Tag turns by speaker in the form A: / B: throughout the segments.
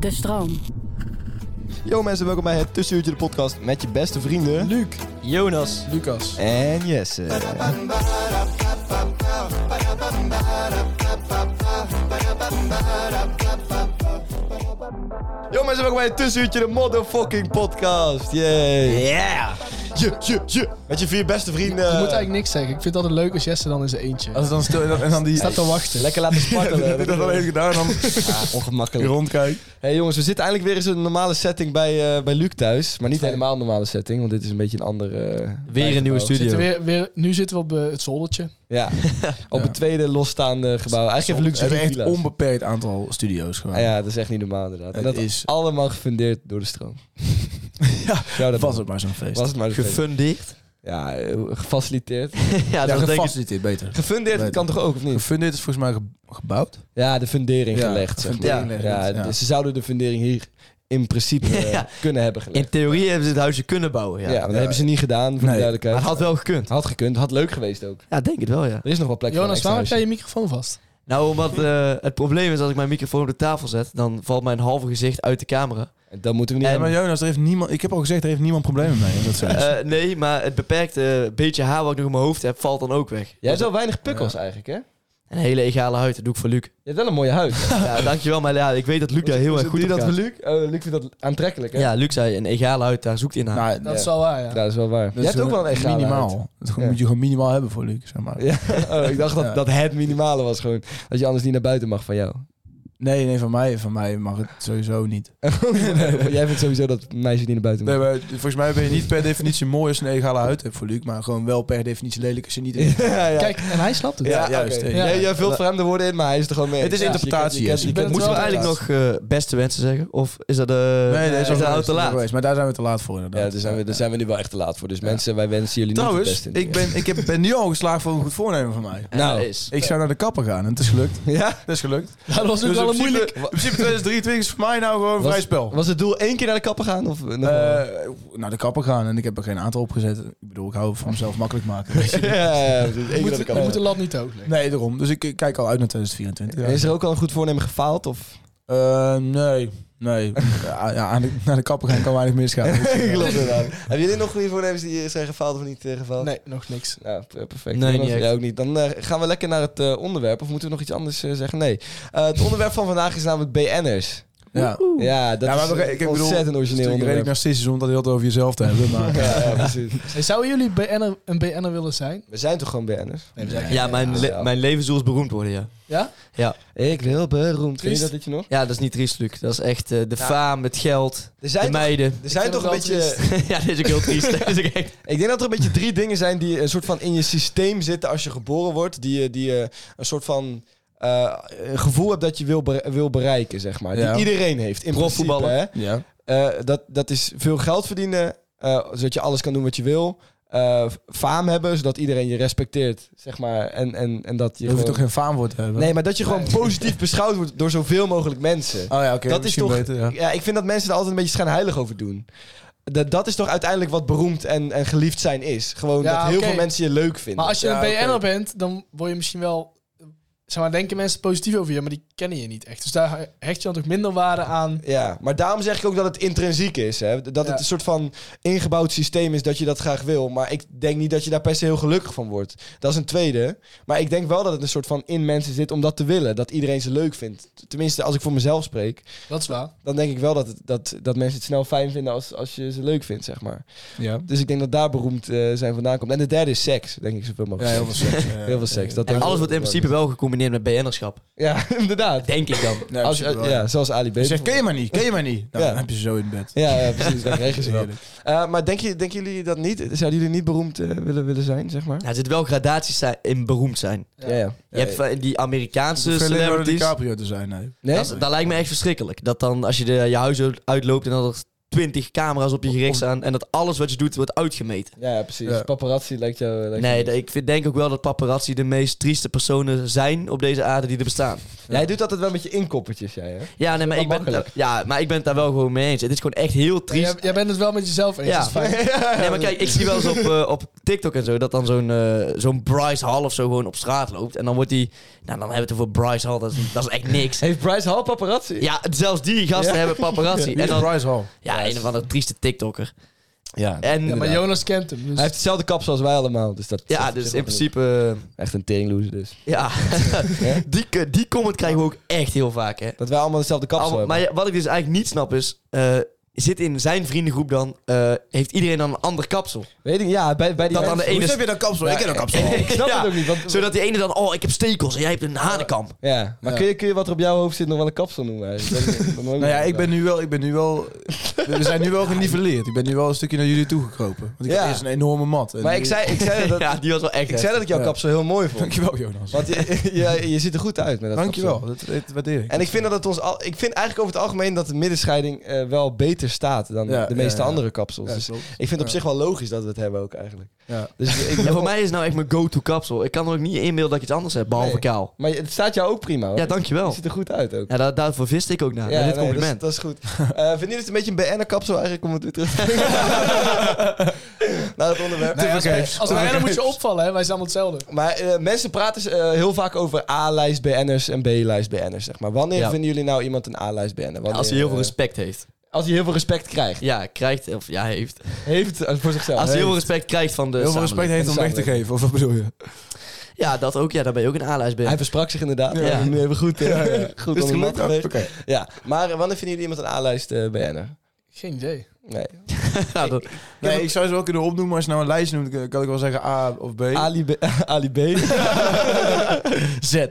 A: De stroom.
B: Yo mensen, welkom bij het Tussenuurtje de podcast met je beste vrienden... Luc, Jonas
C: Lucas.
B: en Jesse. Yo mensen, welkom bij het Tussenuurtje de motherfucking podcast. Yay. Yeah. Je, je, je. Met je vier beste vrienden.
C: Je moet eigenlijk niks zeggen. Ik vind het altijd leuk als Jesse dan in zijn eentje
D: Als het dan stil en dan, en dan die...
C: staat te wachten.
B: Lekker laten spartelen.
D: dat heb ik dat alleen gedaan en dan
B: Ja, ongemakkelijk.
D: rondkijken.
B: Hey jongens, we zitten eindelijk weer eens in een normale setting bij, eh, bij Luc thuis. Maar niet helemaal een normale setting, want dit is een beetje een andere... eh,
D: Weer een
B: bijgebouw.
D: nieuwe studio.
C: Zitten weer, weer, nu zitten we op eh, het zoldertje.
B: Ja, op het tweede losstaande gebouw. Eigenlijk heeft
D: We
B: Luc
D: hebben
B: drie
D: echt
B: villa's.
D: onbeperkt aantal studio's gedaan.
B: Ah ja, dat is echt niet normaal inderdaad. En
D: Het
B: dat is
D: is-
B: allemaal gefundeerd door de stroom.
D: Ja,
B: Zou dat
D: was
B: doen?
D: het maar zo'n feest.
B: Was het maar zo
E: Gefundeerd?
B: Ja, eh, gefaciliteerd.
E: ja, dat denk ik.
D: gefaciliteerd beter.
B: Gefundeerd
D: Nee,
B: kan toch ook, of niet?
D: Gefundeerd is volgens mij ge- gebouwd.
B: Ja, de fundering
D: Ja,
B: gelegd,
D: de
B: zeg maar.
D: fundering
B: ja,
D: gelegd, ja.
B: dus ze zouden de fundering hier in principe eh,
E: Ja.
B: kunnen hebben gelegd.
E: In theorie hebben ze het huisje kunnen bouwen, ja.
B: ja, maar dat hebben ze niet gedaan, voor de
D: Nee.
E: Maar
B: duidelijkheid.
E: het had wel gekund.
B: Had gekund, had leuk geweest ook.
E: Ja, denk het wel, ja.
B: Er is nog wel plek
C: Jonas,
B: voor een
C: waarom
B: extra
C: heb jij je microfoon vast?
E: Nou, omdat eh, het probleem is als ik mijn microfoon op de tafel zet, dan valt mijn halve gezicht uit de camera.
B: huisje. Dat moeten we niet
E: En-
D: Ja, maar
B: hebben.
D: Jonas, er heeft niemand, ik heb al gezegd, er heeft niemand problemen mee. Dat zijn
E: Eh, nee, maar het beperkte eh, beetje haar wat ik nog in mijn hoofd heb, valt dan ook weg.
B: Jij hebt wel weinig pukkels eigenlijk, hè? Je
E: Een hele egale huid, dat doe ik voor Luc.
B: hebt wel een mooie huid.
E: ja, dankjewel, maar ja, ik weet dat Luc daar heel erg
B: Is het
E: goed
B: die
E: op
B: dat
E: gaat.
B: van Luc? Oh, Luc vindt dat aantrekkelijk, hè?
E: Ja, Luc zei, een egale huid, daar zoekt hij naar.
D: nou,
C: Dat
B: Ja.
C: is wel waar, ja.
B: Ja, dat is wel waar.
D: dat
B: Jij
D: is
B: hebt ook wel een egale
D: Minimaal.
B: huid.
D: Dat gewoon-
B: Ja.
D: moet je gewoon minimaal hebben voor Luc, zeg maar.
B: Ja, oh, ik dacht dat,
D: Ja.
B: dat het minimale was gewoon. Dat je anders niet naar buiten mag van jou.
D: Nee, nee, van mij, van mij mag het sowieso niet.
B: Jij vindt sowieso dat meisjes niet naar buiten
D: Nee,
B: mogen.
D: maar volgens mij ben je niet per definitie mooi als je een egale huid hebt voor Luc, maar gewoon wel per definitie lelijk als je niet...
B: Ja, ja.
C: Kijk, en hij snapt het.
B: ja,
D: juist,
B: oké.
D: hè.
B: Jij, jij vult voor hem de woorden in, maar hij is er gewoon mee.
D: Het is
B: Ja.
D: interpretatie,
B: Je kent- je
D: Jesse.
B: kent- je
E: Moeten
B: kent-
E: we
C: het wel
E: eigenlijk nog eh, beste wensen zeggen? Of is dat, eh
D: Nee,
E: is dat nou te laat?
D: Maar daar zijn we te laat voor inderdaad.
B: Ja, daar zijn, we, daar zijn we nu wel echt te laat voor. Dus mensen, wij wensen jullie niet
D: Trouwens,
B: het beste in
D: ik
B: het
D: ben, ik heb, ben nu al geslaagd voor een goed voornemen van mij.
E: Ja,
B: Nou.
E: dat is.
D: Ik zou naar de kapper gaan en het is gelukt.
B: jaar. Ja?
D: Dat is gelukt.
C: Dat was ook
D: Dus
C: wel
D: in
C: een moeilijk.
D: principe, in principe 2023 is voor mij nou gewoon
B: Was-
D: vrij spel.
B: Was het doel één keer naar de kapper gaan? Of nog wel?
D: Eh, naar de kapper gaan en ik heb er geen aantal op gezet. Ik bedoel, ik hou van mezelf makkelijk maken. weet je.
B: ja, precies. Eén keer naar de
C: Je moet de
B: kapper.
C: lat niet te hoog leggen.
D: Nee, daarom. Dus ik ik kijk al uit naar 2024. ja.
B: Is er ook al een goed voornemen gefaald? Of?
D: Eh, nee, nee. ja, ja, aan de- naar de kapper gaan kan weinig misgaan. Dus, eh,
B: Hebben jullie nog goede voornemens die zijn gefaald of niet eh, gefaald?
C: Nee, nog niks.
B: Nou, per- perfect.
E: Nee,
B: Nee,
E: niet echt.
B: ook niet. Dan eh, gaan we lekker naar het eh, onderwerp. Of moeten we nog iets anders eh, zeggen? Nee. Eh, het onderwerp van vandaag is namelijk BN'ers.
D: Ja.
B: Ja, dat
D: ja, maar
B: is eh,
D: we- ik heb
B: ontzettend
D: bedoel,
B: origineel
D: Het is natuurlijk redelijk
B: onderwerp.
D: narcistisch om dat heel over jezelf te hebben. Maar
B: Ja, ja, precies.
C: Hey, Zouden jullie BN'er, een BN'er willen zijn?
B: We zijn toch gewoon BN'ers?
C: Nee, we zijn
E: Ja, mijn, le-
B: ja.
E: mijn leven zoals beroemd worden, ja.
C: Ja?
B: Ik wil beroemd. Ken je
C: Triest.
B: dat liedje nog?
E: Ja, dat is niet triest, Luc. Dat is echt eh, de
B: Ja.
E: faam, het geld,
B: Er
E: de
B: zijn toch, Dus, eh,
E: meiden.
B: er zijn
C: Ik vind
B: toch een
C: het wel
B: beetje...
E: ja, dit is ook heel triest. Dit is ook echt-
B: Ik denk dat er een beetje drie dingen zijn die een soort van in je systeem zitten als je geboren wordt. Die, je- die je een soort van eh, een gevoel hebt dat je wil, bere- wil bereiken, zeg maar.
D: Ja.
B: Die iedereen heeft. In
E: Profvoetballer.
B: principe, hè?
D: ja.
B: Eh, dat, dat is veel geld verdienen, eh, zodat je alles kan doen wat je wil. Eh, faam hebben, zodat iedereen je respecteert, zeg maar. En, en, en dat je
D: je hoeft
B: gewoon-
D: toch geen faam voor te hebben?
B: Nee, maar dat je gewoon positief beschouwd wordt door zoveel mogelijk mensen.
D: Oh ja, oké.
B: dat is
D: misschien
B: toch...
D: beter, ja.
B: ja. ik vind dat mensen er altijd een beetje schijnheilig over doen. Dat, dat is toch uiteindelijk wat beroemd en, en geliefd zijn is. Gewoon
C: Ja,
B: dat heel
C: oké.
B: veel mensen je leuk vinden.
C: Maar als je
D: Ja,
C: een BN'er
D: oké.
C: bent, dan word je misschien wel zeg maar, denken mensen positief over je, maar die kennen je niet echt. Dus daar hecht je dan toch minder waarde aan.
B: Ja, maar daarom zeg ik ook dat het intrinsiek is. Hè? Dat
C: Ja.
B: het een soort van ingebouwd systeem is dat je dat graag wil. Maar ik denk niet dat je daar per se heel gelukkig van wordt. Dat is een tweede. Maar ik denk wel dat het een soort van in mensen zit om dat te willen. Dat iedereen ze leuk vindt. Tenminste, als ik voor mezelf spreek,
C: Dat is waar.
B: dan denk ik wel dat, het, dat, dat mensen het snel fijn vinden als, als je ze leuk vindt, zeg maar.
D: Ja.
B: Dus ik denk dat daar beroemd eh, zijn vandaan komt. En de derde is seks, denk ik zoveel
D: Ja,
B: mogelijk.
D: heel veel seks.
B: Heel veel seks. Dat
E: En
B: denk ik
E: alles
B: wel.
E: wordt in principe wel gecombineerd met BN'erschap.
B: Ja, inderdaad.
E: Denk ik dan.
D: Nee,
B: Als,
D: principe wel,
B: ja, zoals Ali B.
E: Dus
D: Je zegt, ken je maar niet, ken je maar niet. Nou,
B: Ja.
D: dan heb je ze zo in bed.
B: Ja, ja, precies. Dat krijgen ze wel.
D: Heerlijk.
B: Eh, maar denk je, denken jullie dat niet? Zouden jullie niet beroemd eh, willen, willen zijn, zeg maar?
E: Nou, er zitten wel gradaties zi- in beroemd zijn.
B: Ja, ja. Eh,
E: Je hebt van die
D: Het
E: Amerikaanse
D: hoeft geen Leonardo
E: celebrities.
D: DiCaprio te zijn, nee.
B: Nee?
E: Dat, is- dat lijkt me echt verschrikkelijk. Dat dan als je de, je huis uitloopt en dat er twintig camera's op je gericht staan en dat alles wat je doet wordt uitgemeten.
B: Ja, ja, precies.
D: Ja.
B: Paparazzi lijkt jou... Lijkt jou
E: Nee,
B: niet.
E: dat- ik vind, denk ook wel dat paparazzi de meest trieste personen zijn op deze aarde die er bestaan.
B: Jij doet altijd wel met je inkoppertjes, jij, hè?
E: Ja, nee, maar
B: wel
E: ik ben,
B: makkelijk.
E: ja, maar ik ben het daar wel gewoon mee eens. Het is gewoon echt heel
C: Ja, Jij,
E: triest.
C: jij bent het wel met jezelf eens.
E: Ja.
C: dat is fijn.
E: Nee, maar kijk, ik zie wel eens op, eh, op TikTok en zo dat dan zo'n eh, zo'n Bryce Hall of zo gewoon op straat loopt. En dan wordt die. Nou, dan hebben we het over Bryce Hall. Dat is, dat is echt niks.
B: Heeft Bryce Hall paparazzi?
E: Ja, zelfs die gasten
B: Ja.
E: hebben paparazzi.
D: Wie
E: En
D: is
E: dan,
D: Bryce Hall?
E: ja, een of andere trieste TikToker.
D: Ja.
E: En
C: Ja, maar Jonas kent hem. Dus
B: Hij heeft hetzelfde kapsel als wij allemaal, dus dat...
E: ja,
B: dat
E: dus
B: is
E: in
B: wel genoeg.
E: principe. eh,
B: Echt een teringloser dus.
E: ja, die, ke- die comment krijgen we ook echt heel vaak. Hè.
B: Dat wij allemaal dezelfde kapsel
E: Al-
B: hebben.
E: maar ja, wat ik dus eigenlijk niet snap is. eh, Zit in zijn vriendengroep dan, eh, heeft iedereen dan een ander kapsel?
B: Weet ik, ja, bij, bij die...
E: Dat aan de
D: Hoe
E: ene.
D: heb je dat kapsel? Ik heb dat kapsel.
B: Ik snap
E: Ja.
B: het ook niet, want...
E: Zodat die ene dan, oh, ik heb stekels en jij hebt een hanenkamp.
B: Ja, maar
D: Ja.
B: Kun, je, kun je wat er op jouw hoofd zit nog wel een kapsel noemen? eigenlijk? Dat- dat- dat-
D: Nou ja, ik ben nu wel, ik ben nu wel, we zijn nu wel geniveleerd. Ik ben nu wel een stukje naar jullie toegekropen. Want ik
B: Ja.
D: had eerst een enorme mat. En
B: Maar
D: nu-
B: ik zei, ik zei, dat,
E: ja, die was wel echt.
B: ik zei dat ik jouw
D: Ja.
B: kapsel heel mooi vond.
D: Dankjewel Jonas.
B: Want je, je, je ziet er goed uit met dat
D: Dankjewel,
B: kapsel.
D: dat, dat waardeer ik.
B: En ik vind, dat het ons al, ik vind eigenlijk over het algemeen dat de middenscheiding eh, wel beter staat dan
D: Ja,
B: de meeste
D: ja, ja.
B: andere kapsels.
D: Ja,
B: dus
D: klopt.
B: ik vind het op
D: Ja.
B: zich wel logisch dat we het hebben ook eigenlijk.
D: Ja.
B: Dus ik, ik-
E: Ja, voor mij is nou echt mijn go-to kapsel. Ik kan er ook niet inbeelden dat ik iets anders heb, behalve
B: Nee.
E: kaal.
B: Maar het staat jou ook prima hoor.
E: Ja, dankjewel.
B: Je ziet er goed uit ook.
E: Ja, daar, daarvoor viste ik ook naar.
B: Ja,
E: naar dit
B: nee, dat is-
E: compliment.
B: Dat is, goed. Eh vind je het een beetje een BN'er-kapsel eigenlijk om het weer terug te Naar het onderwerp.
D: Nee,
C: als,
D: Tevergeefs.
C: wij- als wij dan moet je opvallen, hè? wij zijn allemaal hetzelfde.
B: Maar eh, mensen praten eh, heel vaak over A-lijst BN'ers en B-lijst BN'ers, zeg maar. Wanneer
E: Ja.
B: vinden jullie nou iemand een A-lijst BN'er? Wanneer,
E: als hij heel veel
B: eh,
E: respect heeft.
B: als hij heel veel respect krijgt.
E: Ja, krijgt. Of ja, heeft.
B: Heeft eh, voor zichzelf.
E: Als hij heel veel
B: Heeft.
E: respect krijgt van de.
D: Heel veel respect
E: samenleving.
D: heeft om weg te geven, of wat bedoel je?
E: Ja, dat ook. Ja, daar ben je ook een A-lijst bij.
B: Hij versprak zich inderdaad.
E: Ja.
B: Ja. Nu even goed, eh, goed onder de mat
D: gelukt?
B: gelegd.
D: Oké.
B: Ja, maar eh, wanneer vinden jullie iemand een A-lijst eh, BN'er?
C: Geen idee.
B: Nee.
E: Ja, dat-
D: Nee, ik zou ze wel kunnen opnoemen, maar als je nou een lijst noemt, kan ik wel zeggen A of B.
B: Ali B. Ali B.
E: Z.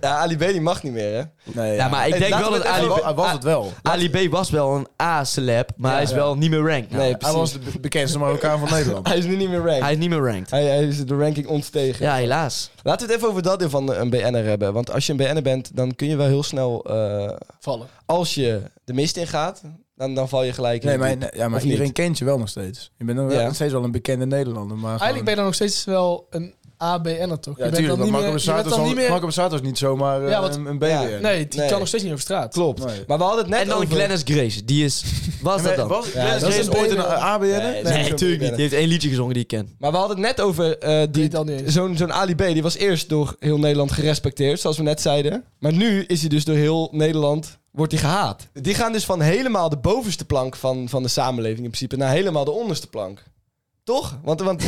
B: ja, Ali B die mag niet meer, hè?
D: Nee,
E: Ja, maar ik denk
B: Laten
E: wel
B: we
E: dat
B: het
E: Ali,
B: even-
D: Hij was het wel.
E: Ali B was wel een A-celeb, maar hij is wel niet meer ranked. nou.
B: Nee,
D: Hij was
B: precies.
D: de be- bekendste Marokkaan van Nederland.
B: Hij is nu niet meer ranked.
E: Hij is niet meer ranked.
B: Hij, hij is de ranking ontstegen.
E: Ja, helaas.
B: Laten we het even over dat deel van een BN'er hebben. Want als je een BN'er bent, dan kun je wel heel snel... eh,
C: Vallen.
B: als je de mist ingaat, dan, dan val je gelijk in.
D: Nee,
B: het
D: maar,
B: diep.
D: nee, ja,
B: Of
D: maar
B: niet?
D: iedereen kent je wel nog steeds. Je bent dan wel
B: Ja.
D: steeds wel een bekende Nederlander. Maar
C: Eigenlijk ben je dan nog steeds wel een ABN'er, toch?
D: ja,
C: je bent
D: tuurlijk,
C: dan niet
D: want
C: meer...
D: Marco
C: Je bent
D: Borsato
C: dan niet
D: is
C: meer
D: Marco Borsato is niet zomaar eh,
C: Ja, want-
D: een, een
B: Ja.
D: BBN.
C: nee, die
B: Nee.
C: kan nog steeds niet over straat.
B: Klopt.
D: Nee.
B: Maar we hadden het net
E: en dan
B: over...
E: Glennis Grace. Die is... Was dat dan?
D: Was,
B: Ja,
D: Dennis
B: dat is
D: Grace
B: een
D: ooit een
B: BBN.
D: ABN?
E: Nee,
B: Nee, Nee,
E: natuurlijk niet.
B: BN'er.
E: Die heeft één liedje gezongen die ik ken.
B: Maar we hadden het net over eh, die,
C: Weet al niet eens.
B: zo'n, zo'n Ali B. Die was eerst door heel Nederland gerespecteerd, zoals we net zeiden. Maar nu is hij dus door heel Nederland wordt hij gehaat. Die gaan dus van helemaal de bovenste plank van, van de samenleving in principe... naar helemaal de onderste plank. Toch? Want, want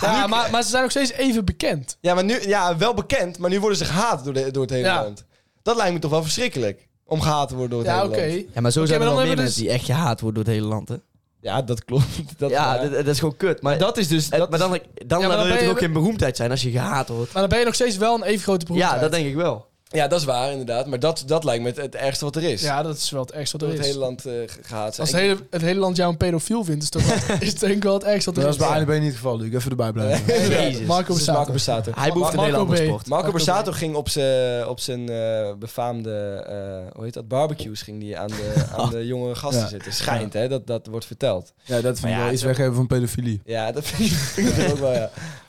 C: Ja, maar, maar ze zijn nog steeds even bekend.
B: Ja, maar nu, ja, wel bekend, maar nu worden ze gehaat door, de, door het hele
C: Ja.
B: land. Dat lijkt me toch wel verschrikkelijk. Om gehaat te worden door het
C: Ja,
B: hele
C: oké.
B: land.
E: Ja, maar zo
C: Oké,
E: zijn
C: maar
E: er
C: dan
E: wel meer
C: hebben we
E: mensen die echt gehaat worden door het hele land, hè?
B: Ja, dat klopt. Dat,
E: ja,
B: maar-
E: dat, dat is gewoon kut. Maar,
B: dat is dus...
E: eh,
B: Dat
E: maar dan, dan,
C: Ja, maar dan
E: wil je
C: ben
E: toch
C: je-
E: ook geen beroemdheid zijn als je gehaat wordt?
C: Maar dan ben je nog steeds wel een even grote beroemdheid.
E: Ja, dat denk ik wel.
B: is, ja, dat is waar inderdaad. Maar dat, dat lijkt me het, het ergste wat er is.
C: Ja, dat is wel het ergste wat
B: door
C: er
B: het hele
C: is.
B: land eh, ge- gehaat zijn.
C: Als het hele, het hele land jou een pedofiel vindt, is, toch wel, is denk ik wel het ergste wat
D: Dat
C: er
D: is
C: is.
D: bij ABN niet het geval, Luc. Even erbij blijven.
E: Jezus.
C: Marco
B: Dat is Dus Marco
C: Borsato.
B: Borsato.
E: Hij behoeft een
C: Marco
E: hele andere
C: B.
E: sport.
B: Marco
C: Marco
B: Borsato ging op zijn op zijn eh, befaamde eh, hoe heet dat barbecues ging die aan de, aan de jonge gasten
D: Ja.
B: zitten. Schijnt hè, dat dat wordt verteld.
D: Ja, dat vind
E: Maar
D: ik
E: ja,
D: wel iets
E: zo-
D: weggeven van pedofilie.
B: Ja, dat vind ik, vind ik ook wel, ja.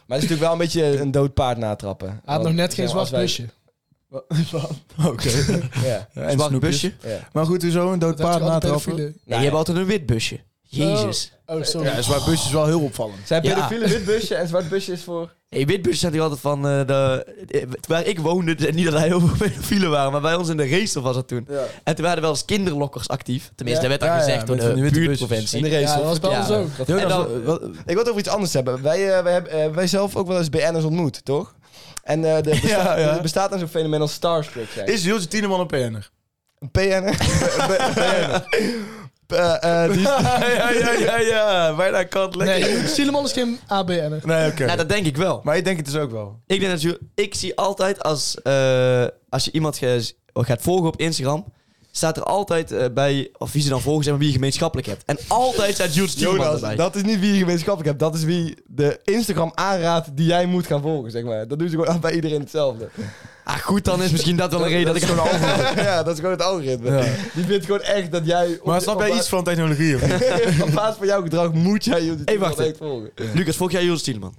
B: Maar het is natuurlijk wel een beetje een dood paard natrappen.
C: Hij had nog net geen zwart
B: busje.
C: busje.
D: Oké.
B: Ja,
D: Ja, en
E: Zwart
D: snoepjes.
E: busje?
B: ja. Nou,
D: Maar goed, hoezo een dood
C: Dat is
D: paard
C: wel de
D: natrappen?
C: pedofiele.
E: Nee, je hebt altijd een wit busje. Jezus.
C: Oh, sorry.
D: Ja, een zwart busje is wel heel opvallend.
B: Zijn
E: Ja.
B: pedofielen wit busje en zwart busje is voor...
E: In Witbus staat hij altijd van... eh, de, waar ik woonde, dus niet dat hij heel veel pedofielen waren, maar bij ons in de racer was dat toen.
D: Ja.
E: En toen waren er wel eens kinderlokkers actief. Tenminste,
D: Ja.
E: dat werd dan
D: Ja, ja,
E: gezegd
D: met
E: door
D: van die
E: de
D: witte
E: buurtprovincie.
B: busjes. In de race,
C: Ja, dat was bij
E: Ja.
C: ons ook.
B: Dat-
E: En dan-
B: Ik wil het over iets anders hebben. Wij, eh, wij, hebben, eh, wij zelf ook wel eens BN'ers ontmoet, toch? En eh, er besta-
D: Ja, ja.
B: er bestaat dan zo'n fenomeen als starstruck zijn.
D: Is Jules Tieneman een PN'er?
B: een PN'er? Eh, eh, die-
D: ja, ja, ja, ja. Bijna kant
C: Nee, Silemon is geen ABN'er.
D: Nee, oké.
E: Nou, dat denk ik wel.
D: Maar ik denk het dus ook wel.
E: Ik denk dat je, ik zie altijd als, eh, als je iemand ge- gaat volgen op Instagram, staat er altijd eh, bij, of wie ze dan volgen, zeg maar wie je gemeenschappelijk hebt. En altijd staat Jules Stuurman
B: Jonas,
E: erbij.
B: dat is niet wie je gemeenschappelijk hebt. Dat is wie de Instagram aanraadt die jij moet gaan volgen, zeg maar. Dat doen ze gewoon bij iedereen hetzelfde.
E: Ah, goed, dan is misschien dat wel een reden dat, ik...
B: gewoon ja, dat is gewoon het algoritme.
D: Ja.
B: Die vindt gewoon echt dat jij... op-
D: Maar snap
B: op
D: jij
B: ba-
D: iets van technologie? Of? niet?
B: Op basis van jouw gedrag moet jij Jonas
E: Hey, wacht
B: Stuurman echt volgen.
E: Lucas, volg jij Jules Stuurman?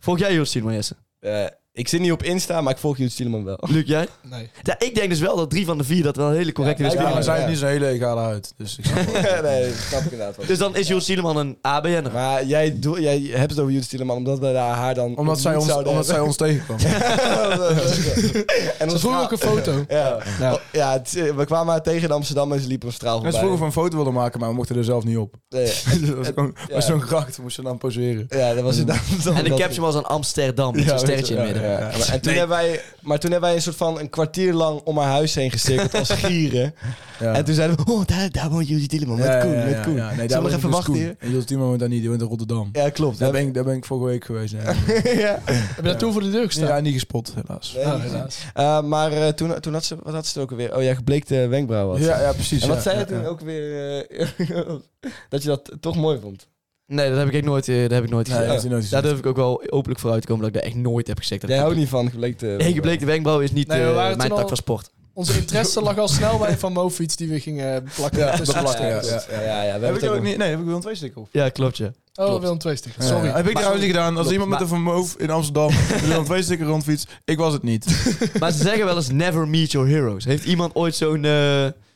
E: Volg jij Jules Stuurman, Jesse?
B: Eh, ik zit niet op Insta, maar ik volg Jonas Stuurman wel.
E: Luc, jij?
C: Nee.
E: Ja, ik denk dus wel dat drie van de vier dat wel een hele correcte
B: Ja,
E: is.
B: wij-
D: Ja, maar zij
B: ja.
D: heeft niet zo'n hele egale huid. Dus ik snap wel.
B: nee, dat snap ik inderdaad wel.
E: Dus dan is Jules Stuurman een ABN'er.
B: Maar jij, doel- jij hebt het over Judith Tieleman omdat wij daar haar dan
D: Omdat zij
B: ontmoet
D: ons,
B: zouden
D: omdat zij ons tegenkwam.
B: hebben. en
C: Ze
B: ons
C: vroegen
B: verhaal-
C: ook een foto.
B: ja. Ja. het- eh, we kwamen haar tegen in Amsterdam en ze liepen een straal
D: En
B: voorbij.
D: ze vroegen van een foto wilden maken, maar we mochten er zelf niet op.
B: Nee,
D: dat was gewoon
B: Ja.
D: was zo'n gracht, we moesten dan poseren.
B: ja, dat was inderdaad.
E: Hmm. En de
B: dat-
E: caption was aan Amsterdam, met
B: Ja,
E: zo'n
B: weet je,
E: sterretje in
B: ja,
E: het midden.
B: ja. Maar, en toen hebben wij, maar toen hebben wij een soort van een kwartier lang om haar huis heen gestikkeld als gieren.
D: Ja.
B: En toen zeiden we, oh, daar, daar woont Judith Tieleman met Koen, met Koen.
D: Nee, daar
B: Zullen we
D: woont
B: nog even
D: dus
B: wachten
D: Koen.
B: hier?
D: En Jules Timo woont daar niet, die woont in Rotterdam.
B: Ja, klopt.
D: Daar, ben ik, daar ben ik vorige week geweest. Nee.
B: ja.
C: Heb je daar toen voor de deur gestaan?
D: ja, niet gespot, helaas.
B: Nee,
C: Oh,
B: niet gezien.
C: helaas.
B: Eh, maar eh, toen, toen had ze, wat had ze er ook alweer? Oh ja, gebleekte wenkbrauwen had ze.
D: Ja, ja, precies.
B: En wat
D: ja.
B: zei je
D: Ja,
B: toen
D: ja.
B: ook weer? eh, dat je dat toch mooi vond.
E: Nee, dat heb ik echt nooit, eh, dat heb ik nooit
D: Nee, dat
E: gezegd.
D: heeft hij nooit
E: Daar
D: gezien.
E: durf ik ook wel openlijk voor uit te komen dat ik dat echt nooit heb gezegd. Dat
B: Jij
E: ik-
B: houdt niet van gebleekte.
E: Nee,
B: wenkbrauwen.
E: gebleekte wenkbrauw is niet
C: Nee, we
E: eh,
C: waren
E: mijn
C: toen
E: tak
C: al-
E: van sport.
C: Onze interesse lag al snel bij Van Mofiets die we gingen plakken.
D: Ja,
C: tussen
D: beplakken,
C: de
D: ja,
C: stickers.
B: Ja, ja, ja, we
D: Heb
B: hebben
D: ik
B: het ook
D: ook
B: nog-
D: niet? Nee, heb ik wel een twee sticker op.
E: Ja, klopt je.
C: Oh,
E: Klopt.
C: Willem twee stickers.
D: Sorry.
C: Sorry.
D: heb ik
E: Maar-
D: trouwens niet gedaan. Als
E: Klopt,
D: iemand met een vermoof in Amsterdam met een twee sticker rondfiets, ik was het niet.
E: Maar ze zeggen wel eens never meet your heroes. Heeft iemand ooit zo'n eh,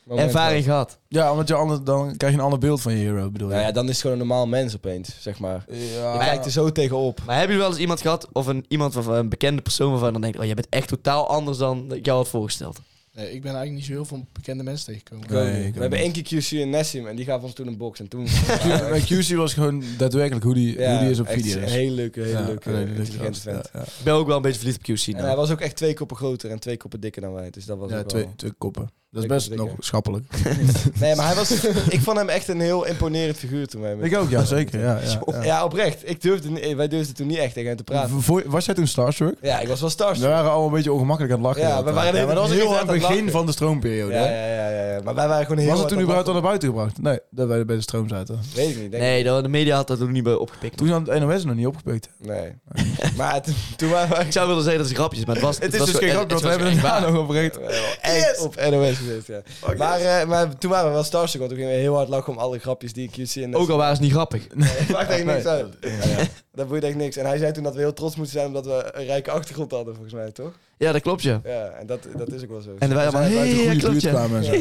B: Moment
E: ervaring
B: wel.
E: gehad?
D: Ja, omdat je anders, dan krijg je een ander beeld van je hero, bedoel je?
B: Nou ja, dan is het gewoon een normaal mens opeens, zeg maar. Je
D: Ja.
B: kijkt er zo tegenop.
E: Maar hebben jullie wel eens iemand gehad of een, iemand van een bekende persoon waarvan dan denkt, oh, jij bent echt totaal anders dan ik jou had voorgesteld.
C: Nee, ik ben eigenlijk niet zo heel veel bekende mensen tegengekomen.
D: Nee, ik ook
B: we hebben één
D: niet.
B: keer QC en Nessim en die gaven ons toen een box. En toen...
D: Q- maar QC was gewoon daadwerkelijk hoe die,
B: Ja,
D: hoe die is op
B: echt
D: video.
B: Een hele leuke, hele
D: Ja,
B: leuke,
D: een hele leuke
B: eh, intelligente
D: gast, ja,
B: vent.
D: ja.
E: Ik ben ook wel een beetje verliefd op QC
B: En
E: nou.
B: hij was ook echt twee koppen groter en twee koppen dikker dan wij. Dus dat was
D: Ja,
B: ook
D: twee,
B: wel...
D: twee koppen. Dat
B: Twee
D: is best
B: koppen
D: nog
B: dikker.
D: schappelijk.
B: Nee, maar hij was... ik vond hem echt een heel imponerend figuur toen wij... met-
D: Ik ook, ja, zeker. Ja, ja, ja.
B: Ja, oprecht. Ik durfde, eh, wij durfden toen niet echt tegen hem te praten.
D: Voor- was jij toen Starstruck?
B: Ja, ik was wel starstruck.
D: We waren allemaal een beetje ongemakkelijk aan het lachen.
B: Ja,
D: de hele
B: we
D: tijd.
B: waren de hele
D: maar dat was
B: tijd
D: heel
B: aan
D: hard
B: het
D: begin
B: lachen.
D: van de stroomperiode.
B: Ja,
D: hè?
B: ja, ja, ja, ja. Maar wij waren gewoon heel
D: Was het
B: hard
D: toen
B: aan
D: überhaupt al
B: lachen.
D: naar buiten gebracht? Nee, dat wij bij de stroom zaten.
B: Weet ik niet. Denk
E: Nee, de, de media had dat ook niet bij opgepikt.
D: Toen had het NOS nog niet opgepikt.
B: ik. Nee. maar toen, toen waren wij
E: Ik zou willen zeggen dat het grapjes, maar het was
D: Het is
E: was
D: dus
E: wel-
D: geen
E: het-
D: grap, want
E: het
D: we
E: was
D: hebben
E: echt waar.
D: het daar nog over gereden.
B: wel echt op NOS gezet, ja. maar, eh, maar toen waren we wel starstruck, want toen gingen we heel hard lachen om alle grapjes die ik hier zie. En
E: Ook al waren ze niet grappig.
B: dat maakt echt niks
D: Nee.
B: uit. Dat boeit echt niks. En hij zei toen dat we heel trots moesten zijn omdat we een rijke achtergrond hadden, volgens mij, toch?
E: Ja, dat klopt je.
B: Ja, en dat, dat is ook wel zo.
E: En wij allemaal,
D: Uit de
E: hey, ja,
D: goede
E: klopt
D: buurt
E: je.
D: kwamen en zo.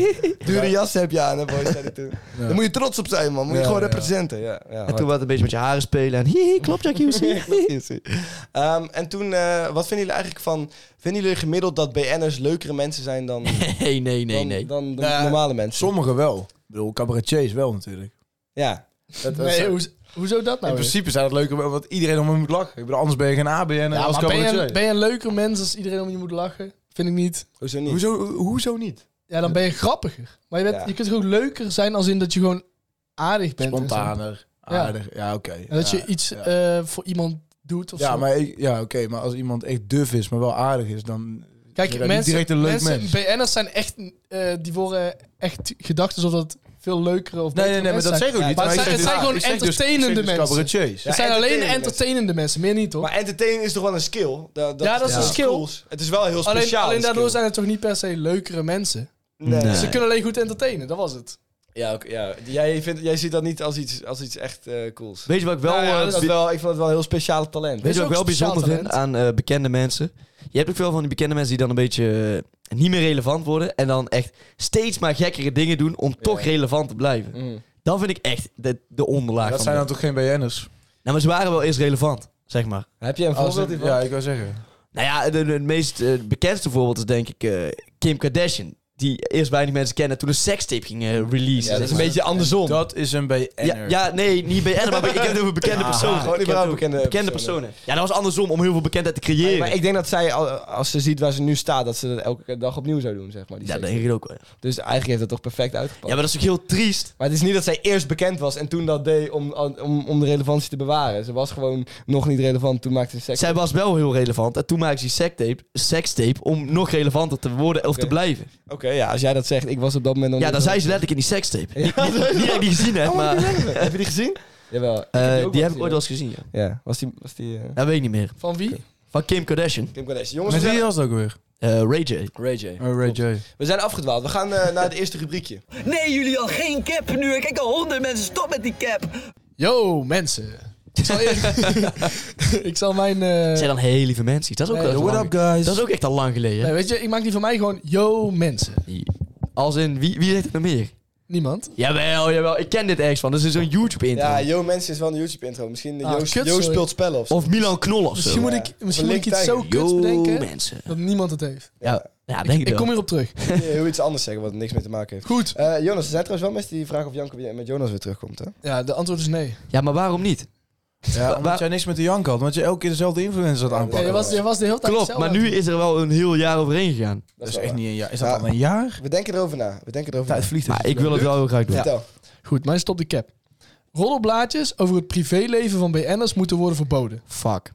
B: Dure jas heb je aan, hè, boy, zei hij toen. Daar moet je trots op zijn, man. Moet je
D: Ja,
B: gewoon
D: ja.
B: representen. Ja, ja,
E: En
B: hard.
E: toen wat een beetje met je haren spelen en hihi, klopt ja QC.
B: Ehm, en toen, eh, wat vinden jullie eigenlijk van... Vinden jullie gemiddeld dat BN'ers leukere mensen zijn dan,
E: Nee, nee, nee,
B: dan,
E: nee.
B: dan de
D: Nou,
B: normale mensen?
D: Sommigen wel. Ik bedoel, cabaretiers wel natuurlijk.
B: Ja. Dat, dat-
C: Nee, hoezo, hoezo dat nou?
D: In
C: weer?
D: principe zijn dat leuke, want iedereen om me moet lachen. Ik bedoel, anders ben je geen ABN en
C: Ja,
D: als
C: maar ben, je,
D: cabaretier.
C: ben je een leuker mens als iedereen om je moet lachen? Vind ik niet.
B: hoezo niet?
D: Hoezo, hoezo niet?
C: Ja, dan ben je grappiger. Maar je, bent,
B: Ja.
C: je kunt gewoon leuker zijn als in dat je gewoon aardig bent. en zo.
D: Spontaner,
C: Ja.
D: aardig. Ja, oké.
C: En dat
D: Ja,
C: je iets
D: ja.
C: eh, voor iemand doet of
D: Ja,
C: zo.
D: maar, ik, ja oké, maar als iemand echt duf is, maar wel aardig is, dan...
C: Kijk,
D: is dat niet
C: mensen,
D: direct een leuk
C: mensen,
D: mens.
C: BN'ers zijn echt, eh, die worden echt gedacht alsof dat veel leukere of
D: Nee, nee,
C: betere
D: nee, maar
C: mensen
D: dat zeg
C: zijn.
D: ik ook niet.
C: maar het
D: ik zeg
C: zijn- het
D: dus-
C: zijn gewoon
D: ik zeg dus- ik zeg
C: entertainende
D: dus
C: mensen.
D: cabaretiers.
C: Het zijn alleen
B: entertainende
C: entertainende mensen, meer niet hoor.
B: Maar entertainen is toch wel een skill? Dat,
C: Ja, dat is een
B: iets
C: skill.
B: cools. Het is wel heel speciaal.
C: Alleen, alleen
B: een
C: daardoor
B: skill.
C: zijn het toch niet per se leukere mensen.
B: Nee.
E: Nee.
C: Ze kunnen alleen goed entertainen, dat was het.
B: Ja, oké, ja. Jij, vindt, jij ziet dat niet als iets, als iets echt eh, cools.
E: Weet je wat ik wel,
C: Nou ja,
E: eh,
B: Dat is
E: bi-
B: wel, ik vond het wel een heel speciaal talent.
E: weet
C: is
E: je wat ik wel
C: ook sociaal
E: bijzonder vind aan eh, bekende mensen? Je hebt ook veel van die bekende mensen die dan een beetje eh, niet meer relevant worden en dan echt steeds maar gekkere dingen doen om toch relevant te blijven.
B: Mm.
E: Dan vind ik echt de, de onderlaag
D: dat
E: van
D: zijn dan
E: dit.
D: toch geen BN'ers?
E: Nou, maar ze waren wel eerst relevant, zeg maar.
B: Heb je een
D: Als
B: voorbeeld
D: in-
B: hiervan?
D: Ja, ik wil zeggen.
E: Nou ja, de- de- het meest eh, bekendste voorbeeld is denk ik eh, Kim Kardashian. Die eerst weinig mensen kennen toen een sekstape ging eh, releasen.
B: Ja, dat is een beetje andersom.
D: Dat is een BN'er.
E: Ja, ja, nee, niet BN'er, maar ik heb het over bekende
B: Ah,
E: personen.
B: gewoon
E: Ik heb
B: überhaupt
E: het over
B: bekende personen.
E: personen. Ja, dat was andersom om heel veel bekendheid te creëren.
B: Nee, maar ik denk dat zij, al- als ze ziet waar ze nu staat, dat ze dat elke dag opnieuw zou doen, zeg maar. Die
E: ja, dat
B: serie.
E: denk ik ook wel. Ja.
B: Dus eigenlijk heeft dat toch perfect uitgepakt.
E: Ja, maar dat is ook heel triest.
B: Maar het is niet dat zij eerst bekend was en toen dat deed om, om, om de relevantie te bewaren. Ze was gewoon nog niet relevant, toen maakte ze seks.
E: Zij was wel heel relevant en toen maakte ze die sekstape, sekstape om nog relevanter te worden of te
B: Oké.
E: blijven.
B: Oké, ja, als jij dat zegt, ik was op dat moment nog
E: Ja,
B: niet
E: dan zijn
B: relevant.
E: ze letterlijk in die sekstape.
B: Ja,
E: Niet dat ik die gezien heb,
B: Oh,
E: maar
B: die hebben we. heb je die gezien? Jawel. Ik
E: eh,
B: heb
E: die
B: ook wel
E: heb ik ooit wel eens gezien. Ja.
B: gezien. Ja, was die... Was die eh,
E: Dat weet ik niet meer.
C: Van wie?
E: Van Kim Kardashian,
B: Kim Kardashian.
D: Met
B: Jongens, we
D: wie
B: zijn,
D: was dat ook weer?
E: eh, Ray J.
B: Ray J.
D: Oh, Ray J.
B: we zijn afgedwaald. We gaan eh, naar het eerste rubriekje.
F: Nee, jullie al geen cap nu. Ik kijk al honderd mensen. Stop met die cap.
C: Yo, mensen. Ik zal, eerst- ik zal mijn... eh,
E: Dat zijn dan hele lieve mensen. Dat is ook,
C: Nee,
E: wel
C: what
E: lang-
D: up, guys?
E: Dat is ook echt al lang geleden.
C: nee, weet je, ik maak die van mij gewoon yo, mensen.
E: Als in, wie, wie zegt het nog meer?
C: Niemand.
E: Jawel, jawel. Ik ken dit ergens van. Dat is zo'n YouTube-intro.
B: Ja, Yo Mensen is wel een YouTube-intro. Misschien eh,
C: Ah,
B: Joost
C: kut,
B: Joost
C: sorry.
B: speelt spellen of zo.
E: of Milan Knol of
C: Misschien
E: zo.
C: moet
B: ja.
C: ik, misschien moet
B: Link
C: ik iets zo
B: Tiger.
C: kuts
E: Yo,
C: bedenken
E: mensen.
C: dat niemand het heeft.
E: Ja, ja denk ik,
C: Ik
E: wel.
C: kom hierop terug.
B: heel iets anders zeggen wat er niks mee te maken heeft.
C: Goed.
B: Eh, Jonas, er zijn trouwens wel mensen die vragen of Janko weer- met Jonas weer terugkomt, hè?
C: Ja, de antwoord is nee.
E: Ja, maar waarom niet?
D: Ja,
E: Wa-
D: omdat
E: wa-
D: jij niks met de jank had. Want je elke keer dezelfde influencer had
C: Ja,
D: aanpakken.
C: je, was, je was de hele tijd
E: Klopt,
C: hetzelfde.
E: maar nu is er wel een heel jaar overheen gegaan.
D: Dat is
B: wel
D: echt
B: waar.
D: niet een jaar. Is dat
B: Ja.
D: al een jaar?
B: We denken erover na. We denken erover
D: Tijd
B: na.
D: vliegt.
E: Maar ik wil het wel heel graag doen.
B: Vertel.
C: Goed, mijn stop de cap. Roddelblaadjes over het privéleven van BN'ers moeten worden verboden.
E: Fuck.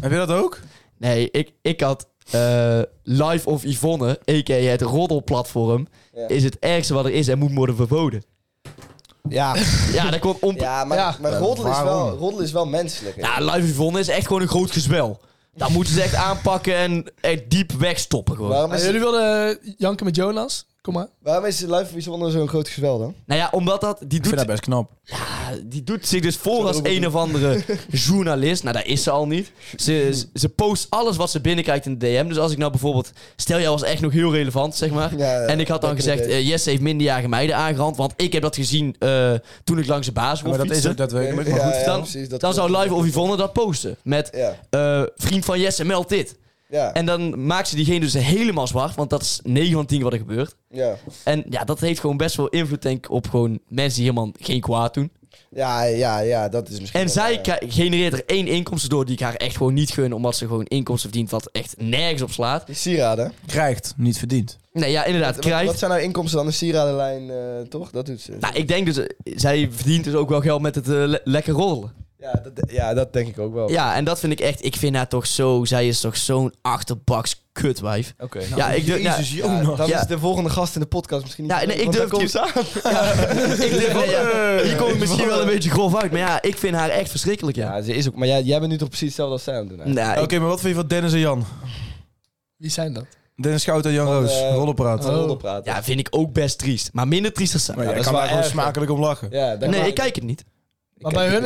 D: Heb je dat ook?
E: Nee, ik, ik had eh Life of Yvonne, a.k.a. het roddelplatform,
B: Ja.
E: is het ergste wat er is en moet worden verboden.
B: Ja,
E: Ja, dat komt om... Ja.
B: ja maar,
C: Ja.
B: maar roddel, is wel,
D: Waarom?
B: roddel is wel menselijk. hè?
E: Life of Yvonne is echt gewoon een groot gezwel. Dat moeten ze echt aanpakken en echt diep wegstoppen gewoon.
B: Waarom
C: Maar
B: is,
C: Ah, jullie wilden eh, janken met Jonas? Kom maar.
B: waarom is Life of Yvonne zo'n groot gezwel dan?
E: Nou ja, omdat dat... Die
D: Ik vind
E: doet,
D: dat best knap.
E: Ja, die doet zich dus voor als een of andere journalist. Nou, dat is ze al niet. Ze,
B: Hmm.
E: ze post alles wat ze binnenkrijgt in de DM. Dus als ik nou bijvoorbeeld... Stel, jij was echt nog heel relevant, zeg maar.
B: Ja, ja,
E: en ik had dan
B: dat
E: gezegd...
B: ken ik.
E: eh, Jesse heeft minderjarige meiden aangerand. Want ik heb dat gezien eh, toen ik langs de baas
D: Maar dat is ook daadwerkelijk. Maar
B: Ja,
D: goed.
B: ja,
E: dan-
B: precies, dat
E: Dan
B: klopt.
E: zou Live of Yvonne dat posten. Met
B: Ja,
E: eh, vriend van Jesse, meld dit.
B: ja,
E: En dan maakt ze diegene dus helemaal zwart. Want dat is 9 van 10 wat er gebeurt.
B: ja.
E: En ja, dat heeft gewoon best wel invloed denk ik, op gewoon mensen die helemaal geen kwaad doen.
B: Ja, ja, ja, dat is misschien
E: En
B: wel
E: zij
B: waar.
E: kri- genereert er één inkomsten door die ik haar echt gewoon niet gun. Omdat ze gewoon inkomsten verdient wat echt nergens op slaat.
B: Die sieraden.
D: Krijgt, niet verdiend.
E: Nee, ja, inderdaad.
B: Wat- Wat
E: krijgt.
B: zijn nou inkomsten dan? Een sieradenlijn, eh, toch? Dat doet ze.
E: Nou, ik denk dus, eh, zij verdient dus ook wel geld met het eh, le- lekker roddelen.
B: Ja, dat, ja, dat denk ik ook wel.
E: Ja, en dat vind ik echt, ik vind haar toch zo, zij is toch zo'n achterbaks kutwijf.
B: Oké. Nou,
E: ja, ik durf, ja,
D: Jezus,
B: Ja,
D: Jonas.
B: dan
E: Ja.
B: is de volgende gast in de podcast misschien niet...
E: Ja, nee, ik
B: want
E: durf
B: dan
E: het
B: komt ze aan.
E: ik durf, nee, ja, hier kom ik misschien wel een beetje grof uit, maar ja, ik vind haar echt verschrikkelijk, ja.
B: Ja, ze is ook... Maar jij, jij bent nu toch precies hetzelfde als zij aan het doen eigenlijk?
E: Nou,
D: Oké,
E: ik-
D: maar wat vind je van Dennis en Jan?
C: Wie zijn dat?
D: Dennis Schout en Jan
B: Van,
D: Roos.
B: eh,
D: Rollenpraat.
B: Laten we rollen praten.
E: ja, vind ik ook best triest. Maar minder triest dan zij.
D: Maar
B: ja,
D: jij
B: dat is
D: kan
B: wel
D: daar gewoon
B: erg, hè?
D: smakelijk om lachen.
B: Ja, dat-
E: Nee, ik kijk het niet.
C: Maar bij hun,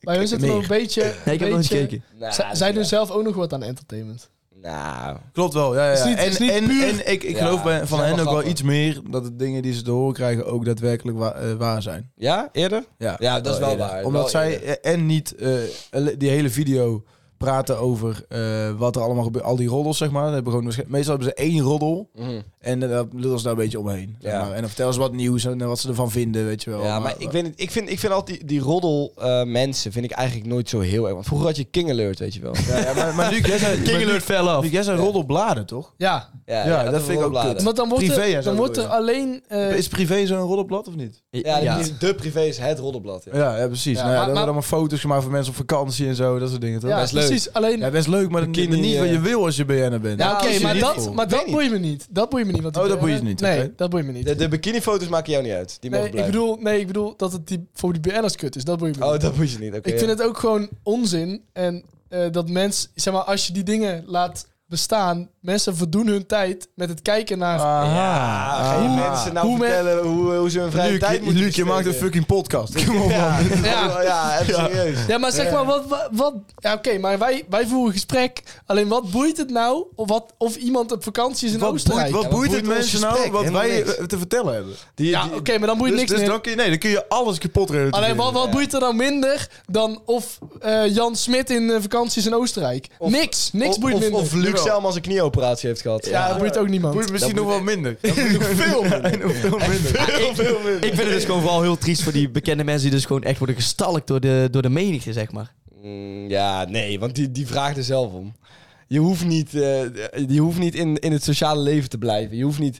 C: bij hun zit er wel
D: meer.
C: een beetje...
E: Nee, ik heb
C: een
E: nog niet
C: beetje-
E: gekeken.
B: Nou,
C: Z- zij doen zelf ook nog wat aan entertainment.
B: Nou...
D: Klopt wel, ja. ja.
C: Is niet-
D: en,
C: is niet
D: en,
C: puur-
D: en ik, ik
B: Ja,
D: geloof bij,
B: zijn
D: van
B: wel
D: hen ook wel
B: grappig.
D: iets meer dat de dingen die ze te horen krijgen ook daadwerkelijk wa- eh, waar zijn.
B: Ja, eerder?
D: Ja,
B: Ja, dat is wel
D: eerder.
B: waar.
D: Omdat
B: Wel
D: zij
B: eerder.
D: eh, en niet eh, ele- die hele video praten over eh, wat er allemaal gebeurt. Al die roddels, zeg maar. Dat Hebben gewoon, waarsch- meestal hebben ze één roddel
B: Mhm.
D: en eh, daar lullen ze daar een beetje omheen. zeg
B: Ja.
D: maar. En dan vertellen ze wat nieuws en eh, wat ze ervan vinden, weet je wel.
B: Ja, Oh, maar ik, weet niet, ik, vind, ik vind altijd die, die roddel eh, mensen vind ik eigenlijk nooit zo heel erg. Want vroeger had je King Alert, weet je wel.
D: Ja, ja, maar, maar Luc, jij zei- maar
E: King
D: Luc-
E: Alert fell off.
D: Luc, jij zijn roddelbladen, toch?
C: Ja,
B: Ja,
D: dat
B: is
D: vind ik ook
B: rollenbladen.
D: kut.
C: want dan wordt
D: Privé en
C: er,
D: zo
C: dan wordt er
D: bedoel
C: alleen... eh,
D: Is privé zo'n roddelblad of niet?
B: Ja, dat is- de privé is het roddelblad. Ja.
D: Ja, ja precies.
C: Ja,
D: nou, ja,
C: maar-
D: er
C: maar-
D: worden allemaal foto's gemaakt van mensen op vakantie en zo, dat soort dingen, toch?
C: ja,
B: best leuk.
C: precies. Alleen...
D: Ja, best leuk, maar niet,
B: kinderen
D: niet
B: die,
D: wat je
B: eh,
D: wil als je BN'er bent.
C: Ja, oké,
B: als je
C: maar
B: niet
C: dat,
B: voelt.
C: maar
B: Weet
C: dat
B: niet.
C: boeit me niet. Dat boeit me niet. want die
D: Oh, dat
C: BN'ers-
D: boeit je niet,
C: Nee,
D: oké.
C: dat boeit me niet.
B: De, de bikinifoto's maken jou niet uit. Die
C: nee,
B: mogen
C: ik
B: blijven.
C: bedoel, nee, ik bedoel dat het die, voor die BN'ers kut is. Dat boeit me
B: Oh,
C: niet.
B: dat moet je niet. Oké.
C: ik vind het ook gewoon onzin. En eh, dat mens, zeg maar, als je die dingen laat bestaan, Mensen verdoen hun tijd met het kijken naar...
D: Ah. ja,
B: Ga je Ah, mensen nou
C: Ah, hoe men-
B: vertellen hoe, hoe ze hun vrije
D: Ah. Luc,
B: tijd
D: je,
B: moeten
D: Luc, je maakt een
B: besteden?
D: fucking podcast. Kom op,
B: Ja,
D: man.
B: ja. ja even serieus.
C: Ja, maar zeg maar, wat... wat, wat- ja, oké, maar wij, wij voeren een gesprek. Alleen wat boeit het nou of, wat, of iemand op vakantie is in
D: Wat
C: Oostenrijk?
D: boeit, wat
B: Ja,
D: boeit het
B: boeit ons
D: mensen nou
B: gesprek?
D: wat
B: Helemaal
D: wij
B: niks.
D: eh, te vertellen hebben?
B: Die,
C: ja,
B: die-
C: oké, maar dan boeit
D: Dus,
C: niks
D: dus
C: meer.
D: dan kun je, nee, dan kun je alles kapot reduceren.
C: Alleen wat, wat boeit er nou minder dan of eh, Jan Smit in eh, vakanties in Oostenrijk?
B: Of-
C: niks, niks
B: of,
C: boeit
B: of,
C: minder.
B: Of Luc
D: Jawel.
B: Selma zijn knieoperatie heeft gehad.
C: ja, dat boeit ook niemand.
D: Boeit misschien nog wel minder.
B: veel minder.
D: Nog veel minder.
B: Heel veel minder.
E: Ik vind het dus gewoon vooral heel triest voor die bekende mensen die dus gewoon echt worden gestalkt door de, door de menigte, zeg maar.
B: Mm, Ja, nee, want die, die vraagt er zelf om. Je hoeft niet, eh, je hoeft niet in, in het sociale leven te blijven. Je hoeft niet,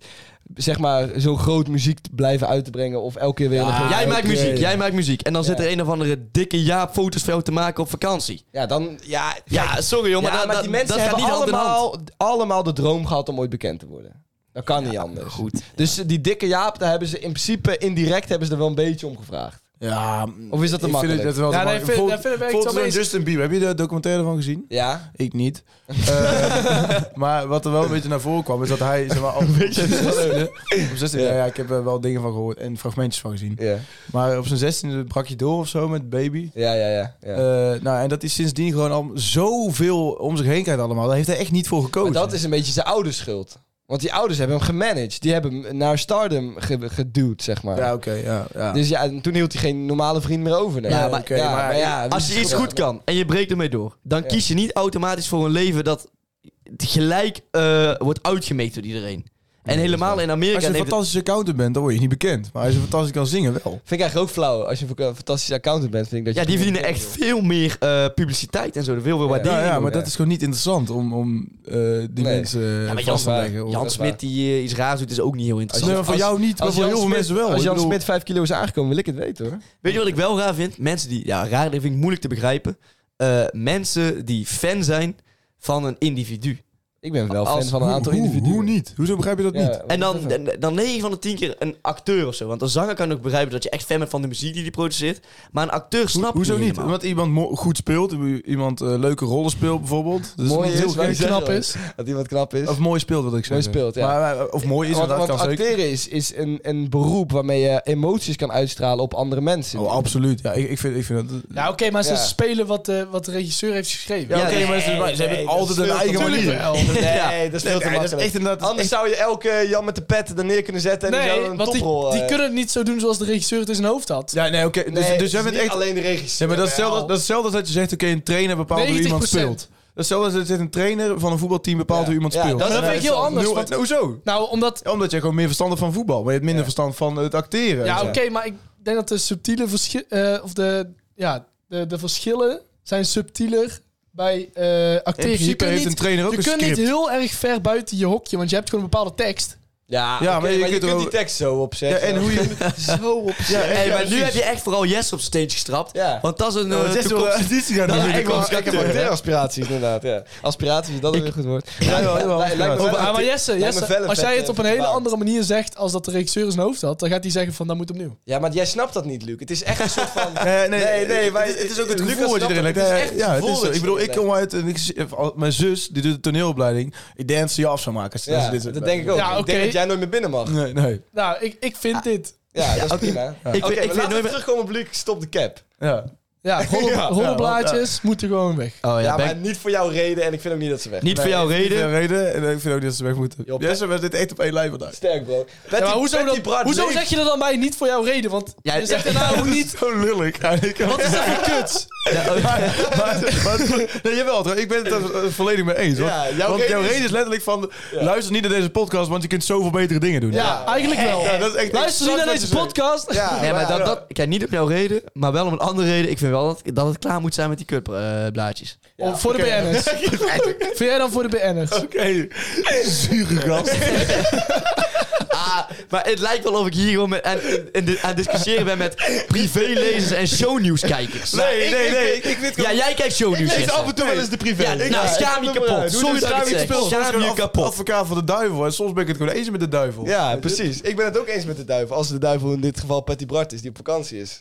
B: zeg maar, zo groot muziek te blijven uit te brengen. Of elke keer weer... een grote-
E: jij maakt
B: elke keer-
E: muziek, jij maakt muziek. En dan zit
B: Ah, Ja.
E: er een of andere dikke Jaap foto's voor jou te maken op vakantie.
B: Ja, dan... Ja,
E: Ja, sorry joh, maar,
B: Ja,
E: dat-
B: maar
E: dat-
B: die mensen
E: dat gaat
B: hebben
E: niet hand in hand.
B: allemaal, allemaal de droom gehad om ooit bekend te worden. Dat kan niet anders.
E: Goed.
B: Dus eh, die dikke Jaap, daar hebben ze in principe indirect hebben ze er wel een beetje om gevraagd.
D: Ja, mm,
B: Of is dat te
D: ik vind
B: makkelijk?
D: het dat wel
C: Ja,
D: te
C: nee,
D: makkelijk.
C: vind-
D: Vol-
C: daar vind ik het
D: vol-
C: wel
D: zo'n
C: mee eens.
D: Justin Bieber, heb je de documentaire van gezien?
B: Ja?
D: Ik niet. Eh, maar wat er wel een beetje naar voren kwam, is dat hij... Zeg maar, op, op 16e, op 16e, ja. ja, ik heb er wel dingen van gehoord en fragmentjes van gezien.
B: Ja,
D: Maar op zijn 16e brak je door of zo met baby.
B: ja, ja. ja, ja.
D: Eh, nou, en dat hij sindsdien gewoon al zoveel om zich heen krijgt allemaal. Daar heeft hij echt niet voor gekozen.
B: maar dat is een beetje zijn ouders schuld. Want die ouders hebben hem gemanaged. Die hebben hem naar stardom ge- geduwd, zeg maar.
D: Ja, oké, ja. ja.
B: Dus ja, en toen hield hij geen normale vriend meer over. nee.
E: Ja,
B: Nee,
E: maar-
B: oké,
D: ja, maar
B: wie
E: Als
B: is
E: je iets
B: schuld?
E: goed kan en je breekt ermee door, dan
B: Ja.
E: kies je niet automatisch voor een leven dat gelijk eh, wordt uitgemeekt door iedereen. En helemaal in Amerika
D: als je een
E: neemt het-
D: fantastische accountant bent, dan word je niet bekend. Maar als je fantastisch kan zingen, wel.
B: Vind ik eigenlijk ook flauw. Als je een fantastische accountant bent, vind ik dat je...
E: Ja, die verdienen echt veel meer eh, publiciteit en zo. Er Veel meer
B: Ja.
E: waardering.
D: Ja, ja, maar
B: ja.
D: dat is gewoon niet interessant om, om eh, die
B: Nee.
D: mensen eh,
E: Ja, maar
D: vast te
B: Jan-
D: leggen. of-
E: Jan
B: dat is waar.
E: Smit die eh, iets raars doet, is ook niet heel interessant.
D: Nee, maar voor jou niet, maar
B: Als
D: voor
B: Jan
D: heel veel
B: Smit-
D: mensen wel.
B: Als
D: Ik
B: Jan
D: bedoel-
B: Smit 5 kilo is aangekomen, wil ik het weten hoor.
E: Weet je wat ik wel raar vind? Mensen die... Ja, raar dat vind ik moeilijk te begrijpen. Eh, mensen die fan zijn van een individu.
B: Ik ben wel
E: Als-
B: fan van een
D: Hoe-
B: aantal
D: hoe,
B: individuen.
D: Hoe niet? Hoezo begrijp je dat niet?
E: En dan, dan, dan 9 van de 10 keer een acteur of zo. Want een zanger kan ook begrijpen dat je echt fan bent van de muziek die hij produceert. Maar een acteur snapt
D: Hoezo niet?
E: helemaal.
D: Omdat iemand mo- goed speelt, iemand eh, leuke rollen speelt bijvoorbeeld. Dus
B: Mooi
D: iemand
B: is,
D: heel
B: wij
D: goed-
B: zeggen
C: knap
B: wel
C: is.
B: Dat iemand knap is.
D: Of mooi speelt, wil ik zeggen.
B: speelt, ja.
D: Maar, eh, of mooi is,
B: want
D: inderdaad,
B: want
D: kan zeker.
B: acteren is, is een, een beroep waarmee je emoties kan uitstralen op andere mensen.
D: Oh, absoluut. Ja, ik, ik vind, ik vind dat...
C: Ja, Nou, oké, maar ze
B: Ja.
C: spelen wat, eh, wat de regisseur heeft geschreven.
D: Ja,
E: Ja,
D: oké,
E: nee,
D: maar ze, maar ze hebben altijd een eigen
C: Tuurlijk
D: manier.
C: wel.
B: Nee, dat is veel te
D: Nee, dat is
B: makkelijk.
D: echt inderdaad...
B: Anders zou je elke Jan met de pet er neer kunnen zetten en dan zou
C: Nee,
B: er een
C: want die,
B: toprol...
C: die
B: eh,
C: kunnen het niet zo doen zoals de regisseur het in zijn hoofd had.
D: Ja, nee, oké. dus,
B: nee,
D: dus
B: het
D: jij
B: is
D: bent
B: niet
D: echt...
B: alleen de regisseur.
D: Ja, maar dat is hetzelfde,
B: wel.
D: dat is hetzelfde als dat je zegt, oké, een trainer bepaalt hoe iemand
C: 90%.
D: speelt. Dat is hetzelfde als dat je zegt, een trainer van een voetbalteam bepaalt
B: Ja.
D: hoe iemand
B: Ja,
D: speelt.
B: dat
C: Maar dat
B: is-
C: vind ik heel
B: eh,
C: anders.
D: Nul-
C: want-
D: Hoezo?
C: nou, omdat...
D: Ja, omdat jij gewoon meer verstand hebt van voetbal, maar je hebt minder verstand van het acteren.
C: Ja,
D: en zo.
C: oké, maar ik denk dat de subtiele verschillen... of de, ja, de, de verschillen zijn subtieler bij eh
D: In
C: acteren. Je
D: principe
C: kunt
D: heeft
C: niet-
D: een trainer ook
C: je
D: een
C: kunt
D: script.
C: niet heel erg ver buiten je hokje, want je hebt gewoon een bepaalde tekst.
B: Ja, oké,
D: maar
B: maar,
D: je
B: je,
D: kunt
B: kunt,
D: er
B: die
D: ook-
B: tekst zo
D: Ja,
B: opzetten.
D: en hoe je...
B: Zo opzetten.
D: Ja,
E: Hey, maar nu
D: precies.
E: heb je echt vooral Yes op stage gestrapt.
B: Ja.
E: Want dat is een eh,
D: Dat is door de
E: toekomst-
D: auditie gaan
E: Dat
D: doen.
E: is echt wel een
B: Ik heb
E: acteur, hè?
B: acteeraspiraties inderdaad, ja. Aspiraties, dat is weer een goed woord.
D: Ja, ja, ja,
B: Lijkt me
D: aspiraties.
B: wel-
C: Ah, maar Jesse,
B: Lijkt me
C: Jesse,
B: wel een
C: als jij
B: vette
C: het op een hele
B: verbouw.
C: andere manier zegt als dat de regisseur in zijn hoofd had, dan gaat hij zeggen van, dat moet opnieuw.
B: Ja, maar jij snapt dat niet, Luc. Het is echt een soort van...
D: Nee,
B: Nee, nee, maar
D: het, is- het is ook het
B: Lucas
D: gevoel wat je
B: snapt
D: erin
B: het.
D: legt.
B: Het is
D: Ja,
B: echt het
D: ja, het
B: gevoel
D: is zo.
B: dat je
D: Ik bedoel, ik
B: erin
D: kom uit en ik, zie- als mijn zus die doet de toneelopleiding. Ik denk dat ze je af zou maken. als- als
E: dus
B: Ja,
D: ze dit-
B: dat denk ik ook. Ik
C: Ja, oké.
B: denk dat jij nooit meer binnen mag.
D: Nee, nee.
C: Nou, ik, ik
D: Ah.
C: vind dit.
B: Ja, dat is prima.
E: Ik,
B: Oké,
E: ik
B: maar
E: vind
B: laten we
E: nooit meer...
B: terugkomen op Luc, stop de cap.
D: Ja.
C: Ja, rolle-
D: Ja,
C: rollenblaadjes
D: ja,
C: moeten gewoon weg.
E: Oh ja,
B: Ja,
E: ben
B: maar
E: ik-
B: niet voor jouw reden en ik vind ook niet dat ze weg
E: niet voor jouw reden.
D: Reden. reden. En ik vind ook niet dat ze weg moeten.
B: Job,
D: Ja, ze hebben dit echt op één lijn vandaag.
B: Sterk, bro.
C: Ja, maar hoezo,
B: Patty
C: dan-
B: Bart
C: hoezo
B: leeft.
C: zeg je dat dan bij niet voor jouw reden? Want
E: Ja,
C: je zegt daarna
E: nou
C: ook niet...
D: Zo lullig eigenlijk.
C: Wat is dat voor kuts?
E: Ja, oh,
D: maar, maar- nee, jawel. hoor. Ik ben het er eh, volledig mee eens. Want,
B: Ja, jouw
D: want
B: reden
D: jouw
B: is-
D: reden is letterlijk van... Luister niet naar deze podcast, want je kunt zoveel betere dingen doen.
C: Ja, eigenlijk wel.
D: Ja, dat is echt
C: Luister
D: exact
C: niet naar
D: wat je
C: deze
D: zegt.
C: podcast.
B: Ja,
E: Nee, maar
B: ja.
E: dat, dat, kijk, niet op jouw reden, maar wel om een andere reden. Ik vind wel dat, dat het klaar moet zijn met die eh, kutblaadjes.
C: Of voor de BN'ers. vind jij dan voor de BN'ers?
D: Oké. Zure gast.
E: Ah, maar het lijkt wel of ik hier gewoon met, aan, in de- aan het discussiëren ben met privélezers en shownieuwskijkers.
B: Nee, nee, nee. Ik, weet
E: Ja, jij kijkt shownieuws.
B: lees
E: Jesse.
B: af en toe wel eens de privé.
E: Ja, nou, schaam je
B: ik- doe
E: kapot. Sorry
B: dit,
E: dat ik
B: schaam
E: het
B: je
E: zeg.
B: kapot.
D: Soms ben
E: Schaam
D: ik
E: je
D: een
E: kapot.
D: advocaat van de duivel. En soms ben ik het gewoon eens met de duivel.
B: Ja, precies. Ik ben het ook eens met de duivel. Als de duivel in dit geval Patty Bart is, die op vakantie is.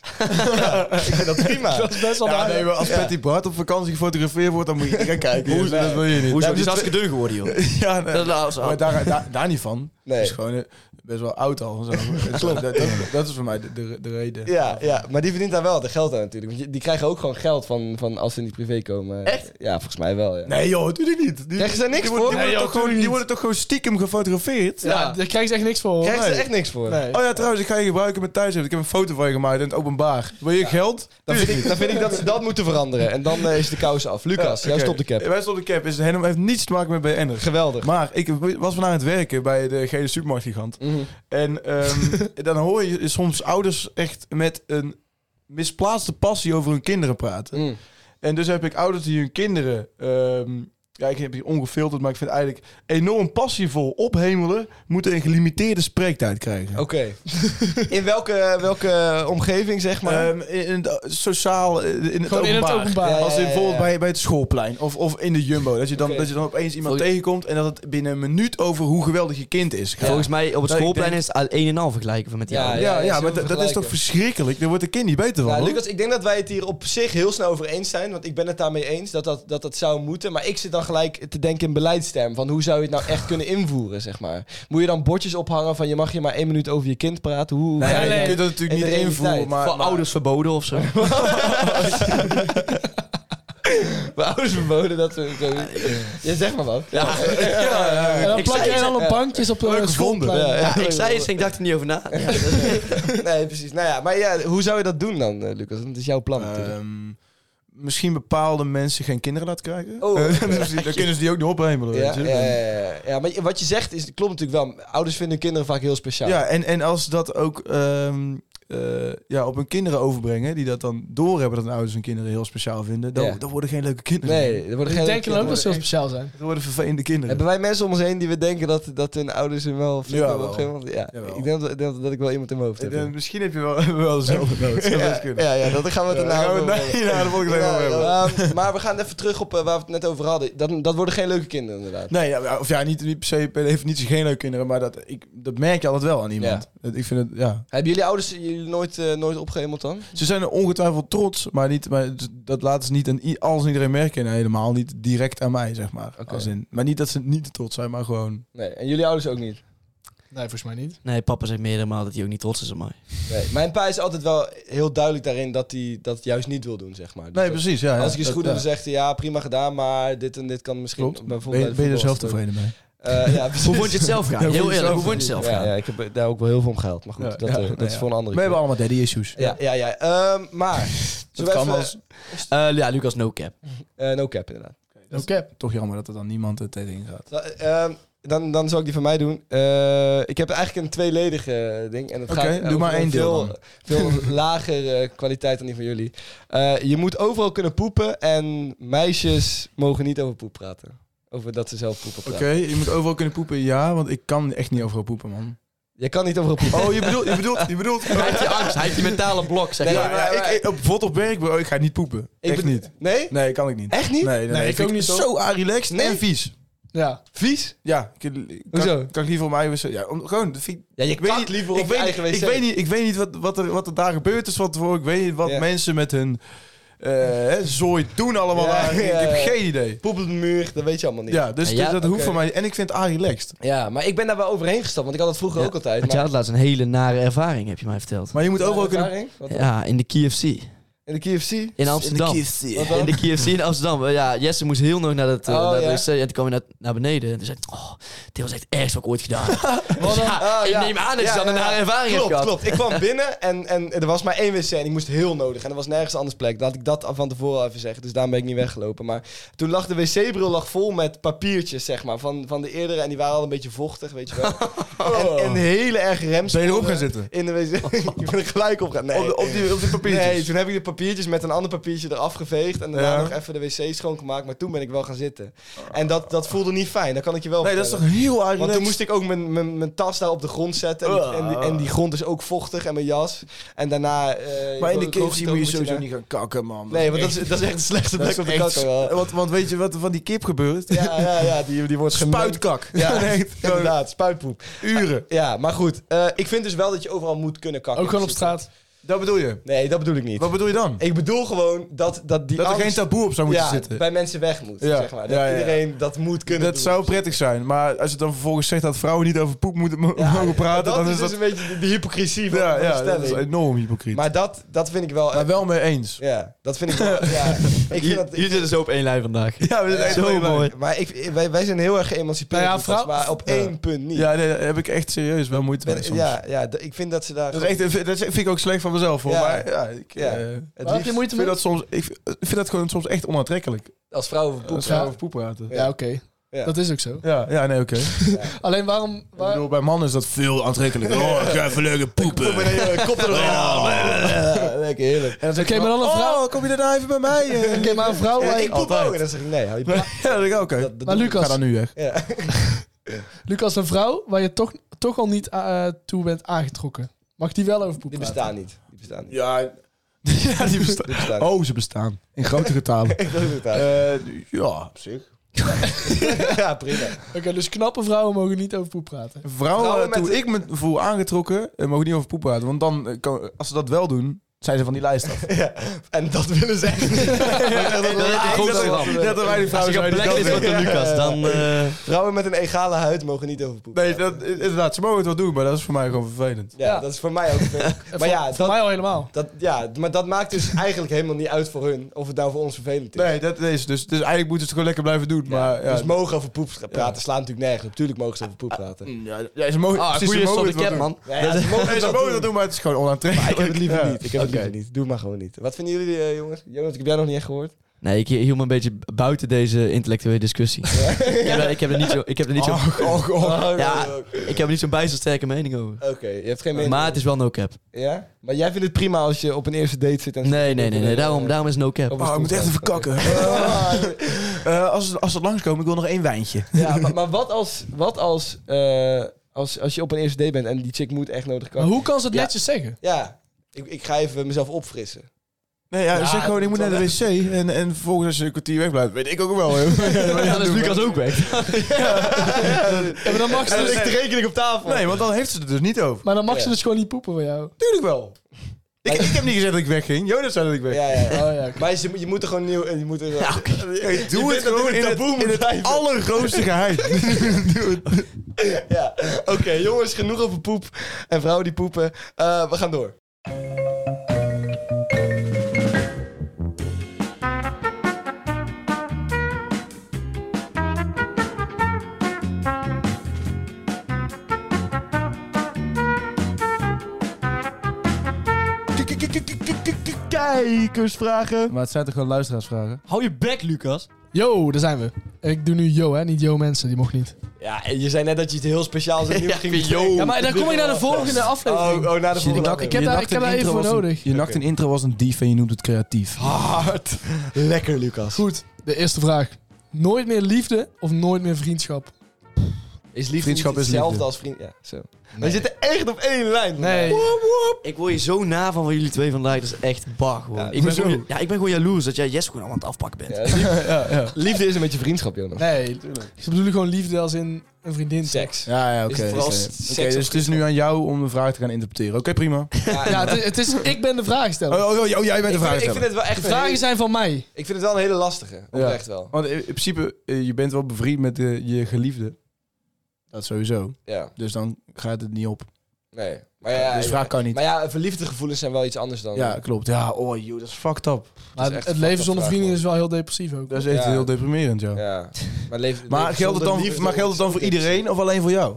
B: ja, ik vind dat prima.
C: Dat is best wel
D: Ja,
C: waar.
D: nee, maar als Patty Bart op vakantie gefotografeerd wordt, dan moet je niet gaan kijken. Hoe, dat wil je niet.
E: Hoezo?
D: Daar
E: Die is
D: hebben ze
E: hartstikke dun geworden, joh.
D: twee- Ja, nee.
E: Dat laat ze
D: Maar
E: af.
D: daar, daar, daar niet van.
B: Nee.
D: Het is gewoon eh, best wel oud al. en Zo. Klopt. Dat, dat, dat is voor mij de, de, de reden.
B: Ja, ja, maar die verdient daar wel de geld aan natuurlijk. Want je- die krijgen ook gewoon geld van, van als ze in die privé komen.
E: Echt?
B: Ja, volgens mij wel. Ja.
D: Nee joh, doe ik niet. Die,
B: Krijgen ze daar niks
D: die
B: voor?
D: worden, die,
B: Nee,
D: worden
B: joh,
D: toch gewoon, die worden toch gewoon stiekem gefotografeerd?
C: Ja, daar krijgen ze echt niks voor.
B: Krijgen
C: Nee.
B: ze echt niks voor.
C: Nee.
D: Oh ja, trouwens, ik ga je gebruiken met thuis. Ik heb een foto van je gemaakt in het openbaar. Wil je geld?
B: Dan vind, ik, dan vind ik dat ze dat moeten veranderen. En dan eh, is de kous af. Lucas, jij
D: Oké.
B: stopt de cap.
D: Wij stoppen de cap. Is het helemaal, heeft niets te maken met BN'ers.
B: Geweldig.
D: Maar ik was vandaag aan het werken bij de gele supermarktgigant.
B: Mhm.
D: En ehm, dan hoor je soms ouders echt met een misplaatste passie over hun kinderen praten.
B: Mm.
D: En dus heb ik ouders die hun kinderen... ehm, ja, ik heb hier ongefilterd, maar ik vind eigenlijk enorm passievol ophemelen... moeten een gelimiteerde spreektijd krijgen.
B: Oké. In welke, welke omgeving, zeg maar?
D: Ehm, in het sociaal, eh, in het
C: Gewoon in het openbaar.
B: Ja, ja,
D: Als in
B: ja,
D: bijvoorbeeld
B: ja.
D: Bij, bij het schoolplein of, of in de Jumbo. Dat je, dan,
B: Oké.
D: dat je dan opeens iemand
E: Vol-
D: tegenkomt en dat het binnen een minuut over hoe geweldig je kind is. gaat.
E: Volgens mij op het
D: Ja, ik
E: schoolplein
D: denk-
E: is het al een en al vergelijken van met die
B: Ja,
E: ouders.
D: Ja, ja,
B: is heel
D: maar dat- dat is toch
B: vergelijken.
D: verschrikkelijk? Daar wordt een kind niet beter van.
B: Nou,
D: hoor.
B: Lucas, ik denk dat wij het hier op zich heel snel over eens zijn. Want ik ben het daarmee eens dat dat, dat dat zou moeten. Maar ik zit dan gelijk te denken in beleidsterm. Van hoe zou je het nou echt kunnen invoeren, zeg maar? Moet je dan bordjes ophangen van je mag je maar één minuut over je kind praten? Hoe, hoe
D: Nou ja,
B: ga je
D: je
B: dat-
D: kunt dat natuurlijk
B: In
D: niet
B: de
D: invoeren,
B: realiteit.
D: maar,
E: Voor
D: maar-
E: ouders verboden of zo.
B: Mijn ouders verboden dat ze... zo- Ja, zeg maar wat.
E: Ja,
C: En dan
E: Ik
C: plak
E: zei-
C: jij dan op bankjes op
D: Leuk
C: de
D: gevonden.
C: schoolplein.
B: Ja,
E: ik zei eens en ik dacht er niet over na. Ja, dat is-
B: Nee, precies. Nou ja, maar ja, hoe zou je dat doen dan, eh, Lucas? Want Dat is jouw plan natuurlijk.
D: Ehm, misschien bepaalde mensen geen kinderen laten krijgen.
B: Oh.
D: Eh, dan is die- dan kunnen ze die ook nog ophemelen.
B: Ja,
D: weet je.
B: ja, ja, ja. ja, maar wat je zegt is, klopt natuurlijk wel. Ouders vinden hun kinderen vaak heel speciaal.
D: Ja, en, en als dat ook ehm, eh, ja, op hun kinderen overbrengen, die dat dan doorhebben dat hun ouders hun kinderen heel speciaal vinden, dan,
B: Ja.
D: dan worden geen leuke kinderen.
B: Nee, er worden
C: Ik
B: geen...
C: denk dan ook dat ze heel
B: echt-
C: speciaal zijn.
D: Dan worden vervelende kinderen.
B: Hebben wij mensen om ons heen die we denken dat, dat hun ouders hun wel vinden?
D: Ja,
B: op
D: wel.
B: een gegeven moment? Ja,
D: Jawel.
B: ik denk dat, dat, dat ik wel iemand in mijn hoofd
D: Eh,
B: heb.
D: dan- misschien heb je wel, wel zelf nood. Zou best kunnen.
B: ja, ja, dat gaan we het daarna
D: Ja, dan gaan we
B: over
D: het
B: hebben.
D: na- hierna de volgende keer
B: Ja,
D: over hebben.
B: ehm, maar we gaan even terug op eh, waar we het net over hadden. Dat, dat worden geen leuke kinderen, inderdaad.
D: Nee, ja, of ja, niet, niet per se per definitie geen leuke kinderen, maar dat, ik, dat merk je altijd wel aan iemand. Dat- Ik vind het, ja.
B: Hebben jullie ouders jullie nooit, eh, nooit opgehemeld dan?
D: Ze zijn er ongetwijfeld trots, maar, niet, maar d- dat laten ze niet aan i- alles en iedereen merken. En helemaal niet direct aan mij, zeg maar.
B: Oké.
D: Als in, maar niet dat ze niet trots zijn, maar gewoon...
B: Nee, en jullie ouders ook niet?
C: Nee, volgens mij niet.
E: Nee, papa zegt meerdere malen dat hij ook niet trots is op mij.
B: Nee. Mijn pa is altijd wel heel duidelijk daarin dat hij dat juist niet wil doen, zeg maar. Dus
D: Nee,
B: dat-
D: precies, ja. ja.
B: Als ik iets
D: Dat-
B: goed
D: ja.
B: doe, dan zegt hij ja, prima gedaan, maar dit en dit kan misschien...
D: Klopt. Ben
B: bijvoorbeeld
D: je,
B: bij de
D: ben je er zelf
B: voetbal is
D: tevreden mee?
B: het ook. Eh, ja, precies.
E: Hoe vond je het zelf gaan?
D: Ja,
E: Heel
D: hoe
E: eerlijk,
D: zelf-
E: hoe vond je het zelf
B: Ja,
E: gaan?
B: ja, ik heb daar ook wel heel veel om gehaald. Maar goed,
D: Ja,
B: dat,
D: ja,
B: eh, dat
D: ja,
B: is
D: ja.
B: voor een andere
D: We hebben
B: keer.
D: allemaal daddy issues.
B: Ja, ja, ja. Ehm, maar,
D: Dat
B: zullen we
D: kan
B: even-
D: als...
E: Eh, ja, Lucas, no cap.
B: eh, no cap inderdaad.
C: No cap.
D: Toch jammer dat er dan niemand het tegenin gaat.
B: Zo, ehm, dan, dan zal ik die van mij doen. Eh, ik heb eigenlijk een tweeledige eh, ding. En het
D: Oké,
B: gaat
D: doe
B: over
D: maar
B: een
D: één deel
B: veel, veel lager eh, kwaliteit dan die van jullie. Eh, je moet overal kunnen poepen en meisjes mogen niet over poep praten. Over dat ze zelf poepen
D: Oké,
B: praten.
D: je moet overal kunnen poepen, ja, want ik kan echt niet overal poepen, man.
B: Je kan niet overal poepen.
D: Oh, je bedoelt, je bedoelt, je bedoelt.
E: Hij heeft die angst, hij heeft die mentale blok, zeg
B: Nee,
E: maar.
D: Ja, ja, ik, ik, op, bijvoorbeeld op werk, bro, ik ga niet poepen.
B: Ik
D: echt
B: bedoel-
D: niet.
B: Nee?
D: Nee, kan ik niet.
B: Echt niet?
D: Nee, nee,
C: ik
D: vind
C: ook niet, hoor.
D: Zo relaxed
B: Nee?
D: en vies.
C: Ja.
B: Vies?
D: Ja, ik, ik- kan,
B: Hoezo?
D: kan ik liever op mijn eigen wc- Ja, om, gewoon, dat vind ik-
B: Ja, je
D: ik weet
B: kakt
D: niet-
B: liever
D: ik
B: op je
D: weet,
B: eigen
D: niet-
B: wc.
D: Ik weet niet, ik weet niet wat, wat, er, wat er daar gebeurd is van tevoren. Ik weet niet wat
B: Ja.
D: mensen met hun eh, hè, zooi doen allemaal.
B: Ja,
D: daar.
B: ja,
D: Ik
B: ja.
D: heb geen idee.
B: Poep op de muur, dat weet je allemaal niet.
D: Ja, dus,
E: Ja,
D: dus
E: ja,
D: dat hoeft
B: oké.
D: van mij. En ik vind het relaxed.
B: Ja, maar ik ben daar wel overheen gestapt, want ik had dat vroeger
E: Ja,
B: ook altijd.
E: Want jij had laatst een hele nare ervaring, heb je mij verteld.
D: Maar je moet overal kunnen...
B: ervaring? Wat-
E: Ja, in de KFC.
B: In de KFC?
E: In Amsterdam.
D: In de KFC.
B: Wat dan?
E: In de KFC in Amsterdam. Eh, Ja, Jesse moest heel nog naar, dat, eh,
B: Oh,
E: naar de
B: ja.
E: wc en toen kwam hij naar, naar beneden. En toen zei ik, oh, dit was echt ergens wat ik ooit gedaan heb. Dus ja,
B: Ah,
E: ik
B: ja.
E: neem aan dat je
B: Ja,
E: dan een
B: ja,
E: nare ervaring hebt
B: Klopt,
E: gehad.
B: klopt. Ik kwam binnen en, en er was maar één wc en ik moest heel nodig. En er was nergens anders plek. Laat ik dat van tevoren al even zeggen. Dus daarom ben ik niet weggelopen. Maar toen lag de wc-bril lag vol met papiertjes, zeg maar. Van, van de eerdere. En die waren al een beetje vochtig, weet je wel. En, en hele erg remsporen.
D: Ben je erop gaan zitten?
B: In de wc. ik ben er gelijk op gaan. Nee.
D: Op, de- op die, op die papiertjes.
B: Nee, toen heb ik de papiertjes met een ander papiertje eraf geveegd. En daarna
D: Ja.
B: nog even de wc schoongemaakt. Maar toen ben ik wel gaan zitten. En dat, dat voelde niet fijn. Dat kan ik je wel
D: Nee, dat is toch
B: vertellen.
D: heel aardig.
B: Want toen moest ik ook mijn, mijn, mijn tas daar op de grond zetten. En, die- en, die, en die grond is ook vochtig. En mijn jas. En daarna... eh,
D: Ah. Maar in de
B: ik wil- ik
D: KFC
B: wil-
D: moet je
B: daar-
D: sowieso niet gaan kakken, man.
B: Nee, want
D: want
B: dat is, dat is echt de slechtste plek op de kakker. wel.
D: Want, want weet je wat er van die kip gebeurt?
B: Ja, ja, ja. Die, die wordt gemengd.
D: Spuitkak.
B: Ja,
D: Nee, gewoon
B: inderdaad. Spuitpoep.
D: uren.
B: Ja, maar goed. eh, ik vind dus wel dat je overal moet kunnen kakken.
C: Ook gewoon op
B: in principe.
C: straat.
D: Dat bedoel je?
B: Nee, dat bedoel ik niet.
D: Wat bedoel je dan?
B: Ik bedoel gewoon dat, dat die
D: Dat er
B: angst
D: geen taboe op zou moeten
B: ja,
D: zitten.
B: bij mensen weg moet,
D: Ja.
B: zeg maar. Dat
D: Ja, ja, ja.
B: iedereen dat moet kunnen
D: Dat
B: doen.
D: zou prettig zijn, maar als het dan vervolgens zegt dat vrouwen niet over poep moeten mo-
B: Ja,
D: mogen praten,
B: dat
D: dan
B: is,
D: is
B: dus
D: dat...
B: een beetje de, de hypocrisie van,
D: Ja,
B: van de
D: ja, dat
B: stelling.
D: is enorm hypocriet. Maar,
B: Maar dat, dat vind ik wel...
D: wel mee eens.
B: ja, dat vind ik wel... ja, ik vind dat,
E: Jullie zitten zo op één lijn vandaag.
D: Ja, we zijn echt
E: Zo
D: allebei.
E: mooi.
B: maar ik, wij, wij zijn heel erg geëmancipeerd,
C: Nou ja,
B: Lucas,
C: vrouw-
B: maar op
D: Ja.
B: één punt niet.
D: Ja, nee, daar heb ik echt serieus wel moeite mee
B: Ben-
D: soms.
B: ja, ja, d- ik vind dat ze daar...
D: Dat, is echt, dat vind ik ook slecht van mezelf, hoor.
B: Ja.
D: Maar ja, ik,
B: Ja.
D: eh,
B: het
C: Waar heb je
B: liefst-
C: moeite
D: vind
C: mee?
D: dat soms, ik vind- ik vind dat gewoon soms echt onaantrekkelijk.
B: Als vrouwen over poep
D: Als we
B: gaan.
D: over poep praten.
C: Ja, oké.
B: Ja.
C: Dat is ook zo.
D: Ja, ja nee, oké.
C: Alleen waarom...
D: Ik
C: waar-
D: bedoel, bij mannen is dat veel aantrekkelijker. Oh, ik ga even leuke poepen. Oh,
B: Kop er Lekker, heerlijk.
D: En dan zeg
C: Oké,
D: je
C: maar
D: van,
C: dan een vrouw-
D: Oh, kom je daarna even bij mij? eh?
C: Oké, maar een vrouw... waar-
B: ik poep
D: Altijd.
B: ook. En dan zeg ik, nee, hou je pla-
D: ja, dat denk ik ook. oké.
B: dat- dat
C: Maar
B: doe ik
D: Ga
C: Lucas,
D: dan nu weg.
B: niet. Ja.
C: Lucas, een vrouw waar je toch, toch al niet eh, toe bent aangetrokken. Mag die wel over
B: Die
C: poepen?
B: bestaan niet. Die bestaan niet.
D: Ja, ja die bestaan.
B: Die bestaan niet.
D: Oh, ze bestaan. In grote getalen.
B: Ik wil het daar.
D: Eh, ja, op zich.
B: Ja, prima.
C: Oké, dus knappe vrouwen mogen niet over poep praten.
D: Vrouwen,
B: Vrouwen met-
D: toen ik me voel aangetrokken, eh, mogen niet over poep praten. Want dan, eh, kan- als ze dat wel doen, zijn ze van die lijst af.
B: Ja. En dat willen ze echt niet.
E: dat is een groot schram.
D: Net als wij
E: Als
D: die vrouwen
E: je
D: zijn
E: een
D: die
E: plek
D: dat
E: is met
D: doen.
E: de Lucas, dan... eh,
B: Vrouwen met een egale huid mogen niet over poepen.
D: Nee, dat, inderdaad, ze mogen het wel doen, maar dat is voor mij gewoon vervelend.
B: Ja,
C: Ja.
B: dat is voor mij ook. maar ja,
C: Voor
B: dat,
C: mij al helemaal.
B: dat, ja, maar dat maakt dus eigenlijk helemaal niet uit voor hun. Of het nou voor ons vervelend is.
D: Nee, dat is dus, dus eigenlijk moeten ze het gewoon lekker blijven doen. Maar, ja,
B: Dus mogen over poep stra- praten slaat natuurlijk nergens op. Tuurlijk mogen ze over poep praten.
E: Mm.
D: ja, ja, ze mogen,
E: Ah,
D: precies,
E: goeie
D: ze mogen
E: stop de
D: het
E: cap,
D: wel doen.
E: man.
B: Ja, ja, ze mogen
D: Nee, ze
B: dat
D: mogen
B: doen.
D: dat doen, maar het is gewoon onaantrekkelijk.
B: Maar ik heb het liever
D: Ja.
B: niet. Ik heb het
D: Oké.
B: liever niet. Doe maar gewoon niet. Wat vinden jullie, eh, jongens? Jonas, ik heb jij nog niet echt gehoord.
E: Nee, ik hield me een beetje buiten deze intellectuele discussie. ik, heb, er- ik heb er niet zo... Ik heb er niet zo...
B: Oh, oh,
E: Ja.
B: oh, Oké,
E: Ik heb er niet zo'n bijzondersterke mening over.
B: je hebt geen mening.
E: Maar het is wel no cap.
B: Ja? Maar jij vindt het prima als je op een eerste date zit en...
E: Nee, nee, nee. nee. Daarom,
B: Eh,
E: daarom is no cap.
B: op een
D: Oh, ik
B: stoel
D: moet echt
B: staat.
D: even kakken.
B: Ah,
D: Eh, als, als ze langskomen, ik wil nog één wijntje.
B: Ja, maar, maar wat als, wat als, eh, als, als je op een eerste date bent en die chick moet echt nodig
C: Maar
B: komen?
C: hoe kan ze het
B: Ja.
C: netjes zeggen?
B: Ja, ik, ik ga even mezelf opfrissen.
D: Nee, ja,
C: Ja,
D: zeg gewoon, ik moet naar de wc. En, en vervolgens als je een kwartier wegblijft, weet ik ook wel. Hè.
E: Dan is Lucas ook weg.
C: Ja, maar dan mag ze dus,
B: rekening op tafel.
D: Nee, want dan heeft ze het dus niet over.
C: maar dan mag
B: Ja.
C: ze dus gewoon niet poepen voor jou.
D: Tuurlijk wel. Ik, ik heb niet gezegd dat ik wegging. Jonas zei dat ik wegging.
B: Ja, ja.
C: Oh ja, oké.
B: Maar je, moet- je moet er gewoon nieuw... Je moet er, ja,
D: Hey, doe het
B: dat
D: gewoon
B: dit een
D: in het,
B: taboe moet
D: in het
B: blijven.
D: allergrootste geheim. doe het.
B: Oké, jongens, genoeg over poep. En vrouwen die poepen. Eh, we gaan door. Kijkersvragen.
D: Maar het zijn toch gewoon luisteraarsvragen?
E: Hou je bek, Lucas.
C: Yo, daar zijn we. Ik doe nu yo, hè. Niet yo mensen, die mocht niet.
B: Ja, en je zei net dat je het heel speciaals en nieuw ging bespreken.
C: Ja, maar dan kom ik naar de volgende
B: Oh,
C: aflevering.
B: oh, naar de volgende.
C: Ik heb daar- ik heb daar even voor nodig.
D: je dacht een intro was een dief en je noemt het creatief.
B: Hard. Lekker, Lucas.
C: Goed, de eerste vraag. Nooit meer liefde of nooit meer vriendschap?
B: Is liefde
D: Vriendschap
B: niet
D: is
B: hetzelfde
D: liefde.
B: als vriend? Ja, zo. Wij zitten echt op één lijn.
C: Nee.
E: Ik word je zo na van van jullie twee vandaag. Dat is echt bar, gewoon.
B: Ja,
E: ik, ben
B: hoezo?
E: gewoon ja, ik ben gewoon jaloers dat jij Jess gewoon allemaal aan het afpakken bent.
B: Ja, lief-
D: ja, ja.
B: liefde is een beetje vriendschap, Jonas.
C: Nee, ze bedoelen gewoon liefde als in een vriendin.
B: Seks.
D: Ja, ja, oké.
B: Is het vooral
D: Oké,
B: seks
D: oké,
B: of
D: dus het is nu aan jou om de vraag te gaan interpreteren. Oké, prima.
C: Ja, het is, het is- ik ben de vraagsteller.
D: Oh, oh, oh, oh, jij bent
B: ik,
D: de vraag
B: vind, ik vind het wel echt
C: De
B: een hele-
C: vragen zijn van mij.
B: ik vind het wel een hele lastige. Oprecht wel.
D: Want in in principe, eh, je bent wel bevriend met eh, je geliefde. Dat sowieso.
B: Ja,
D: Dus dan gaat het niet op.
B: nee. Maar ja,
D: dus
B: ja,
D: vraag kan niet.
B: maar ja, verliefde gevoelens zijn wel iets anders dan.
D: Ja, klopt. Ja, oh joh, dat is fucked up.
C: Maar
B: is echt
C: het
B: een
C: leven
B: fucked
C: zonder
B: vraag,
C: vrienden
B: man.
C: is wel heel depressief ook.
D: Dat is echt
B: Ja.
D: heel deprimerend, ja.
B: ja. Maar, leef,
D: Maar, geldt het dan, maar geldt het dan voor iedereen of alleen voor jou?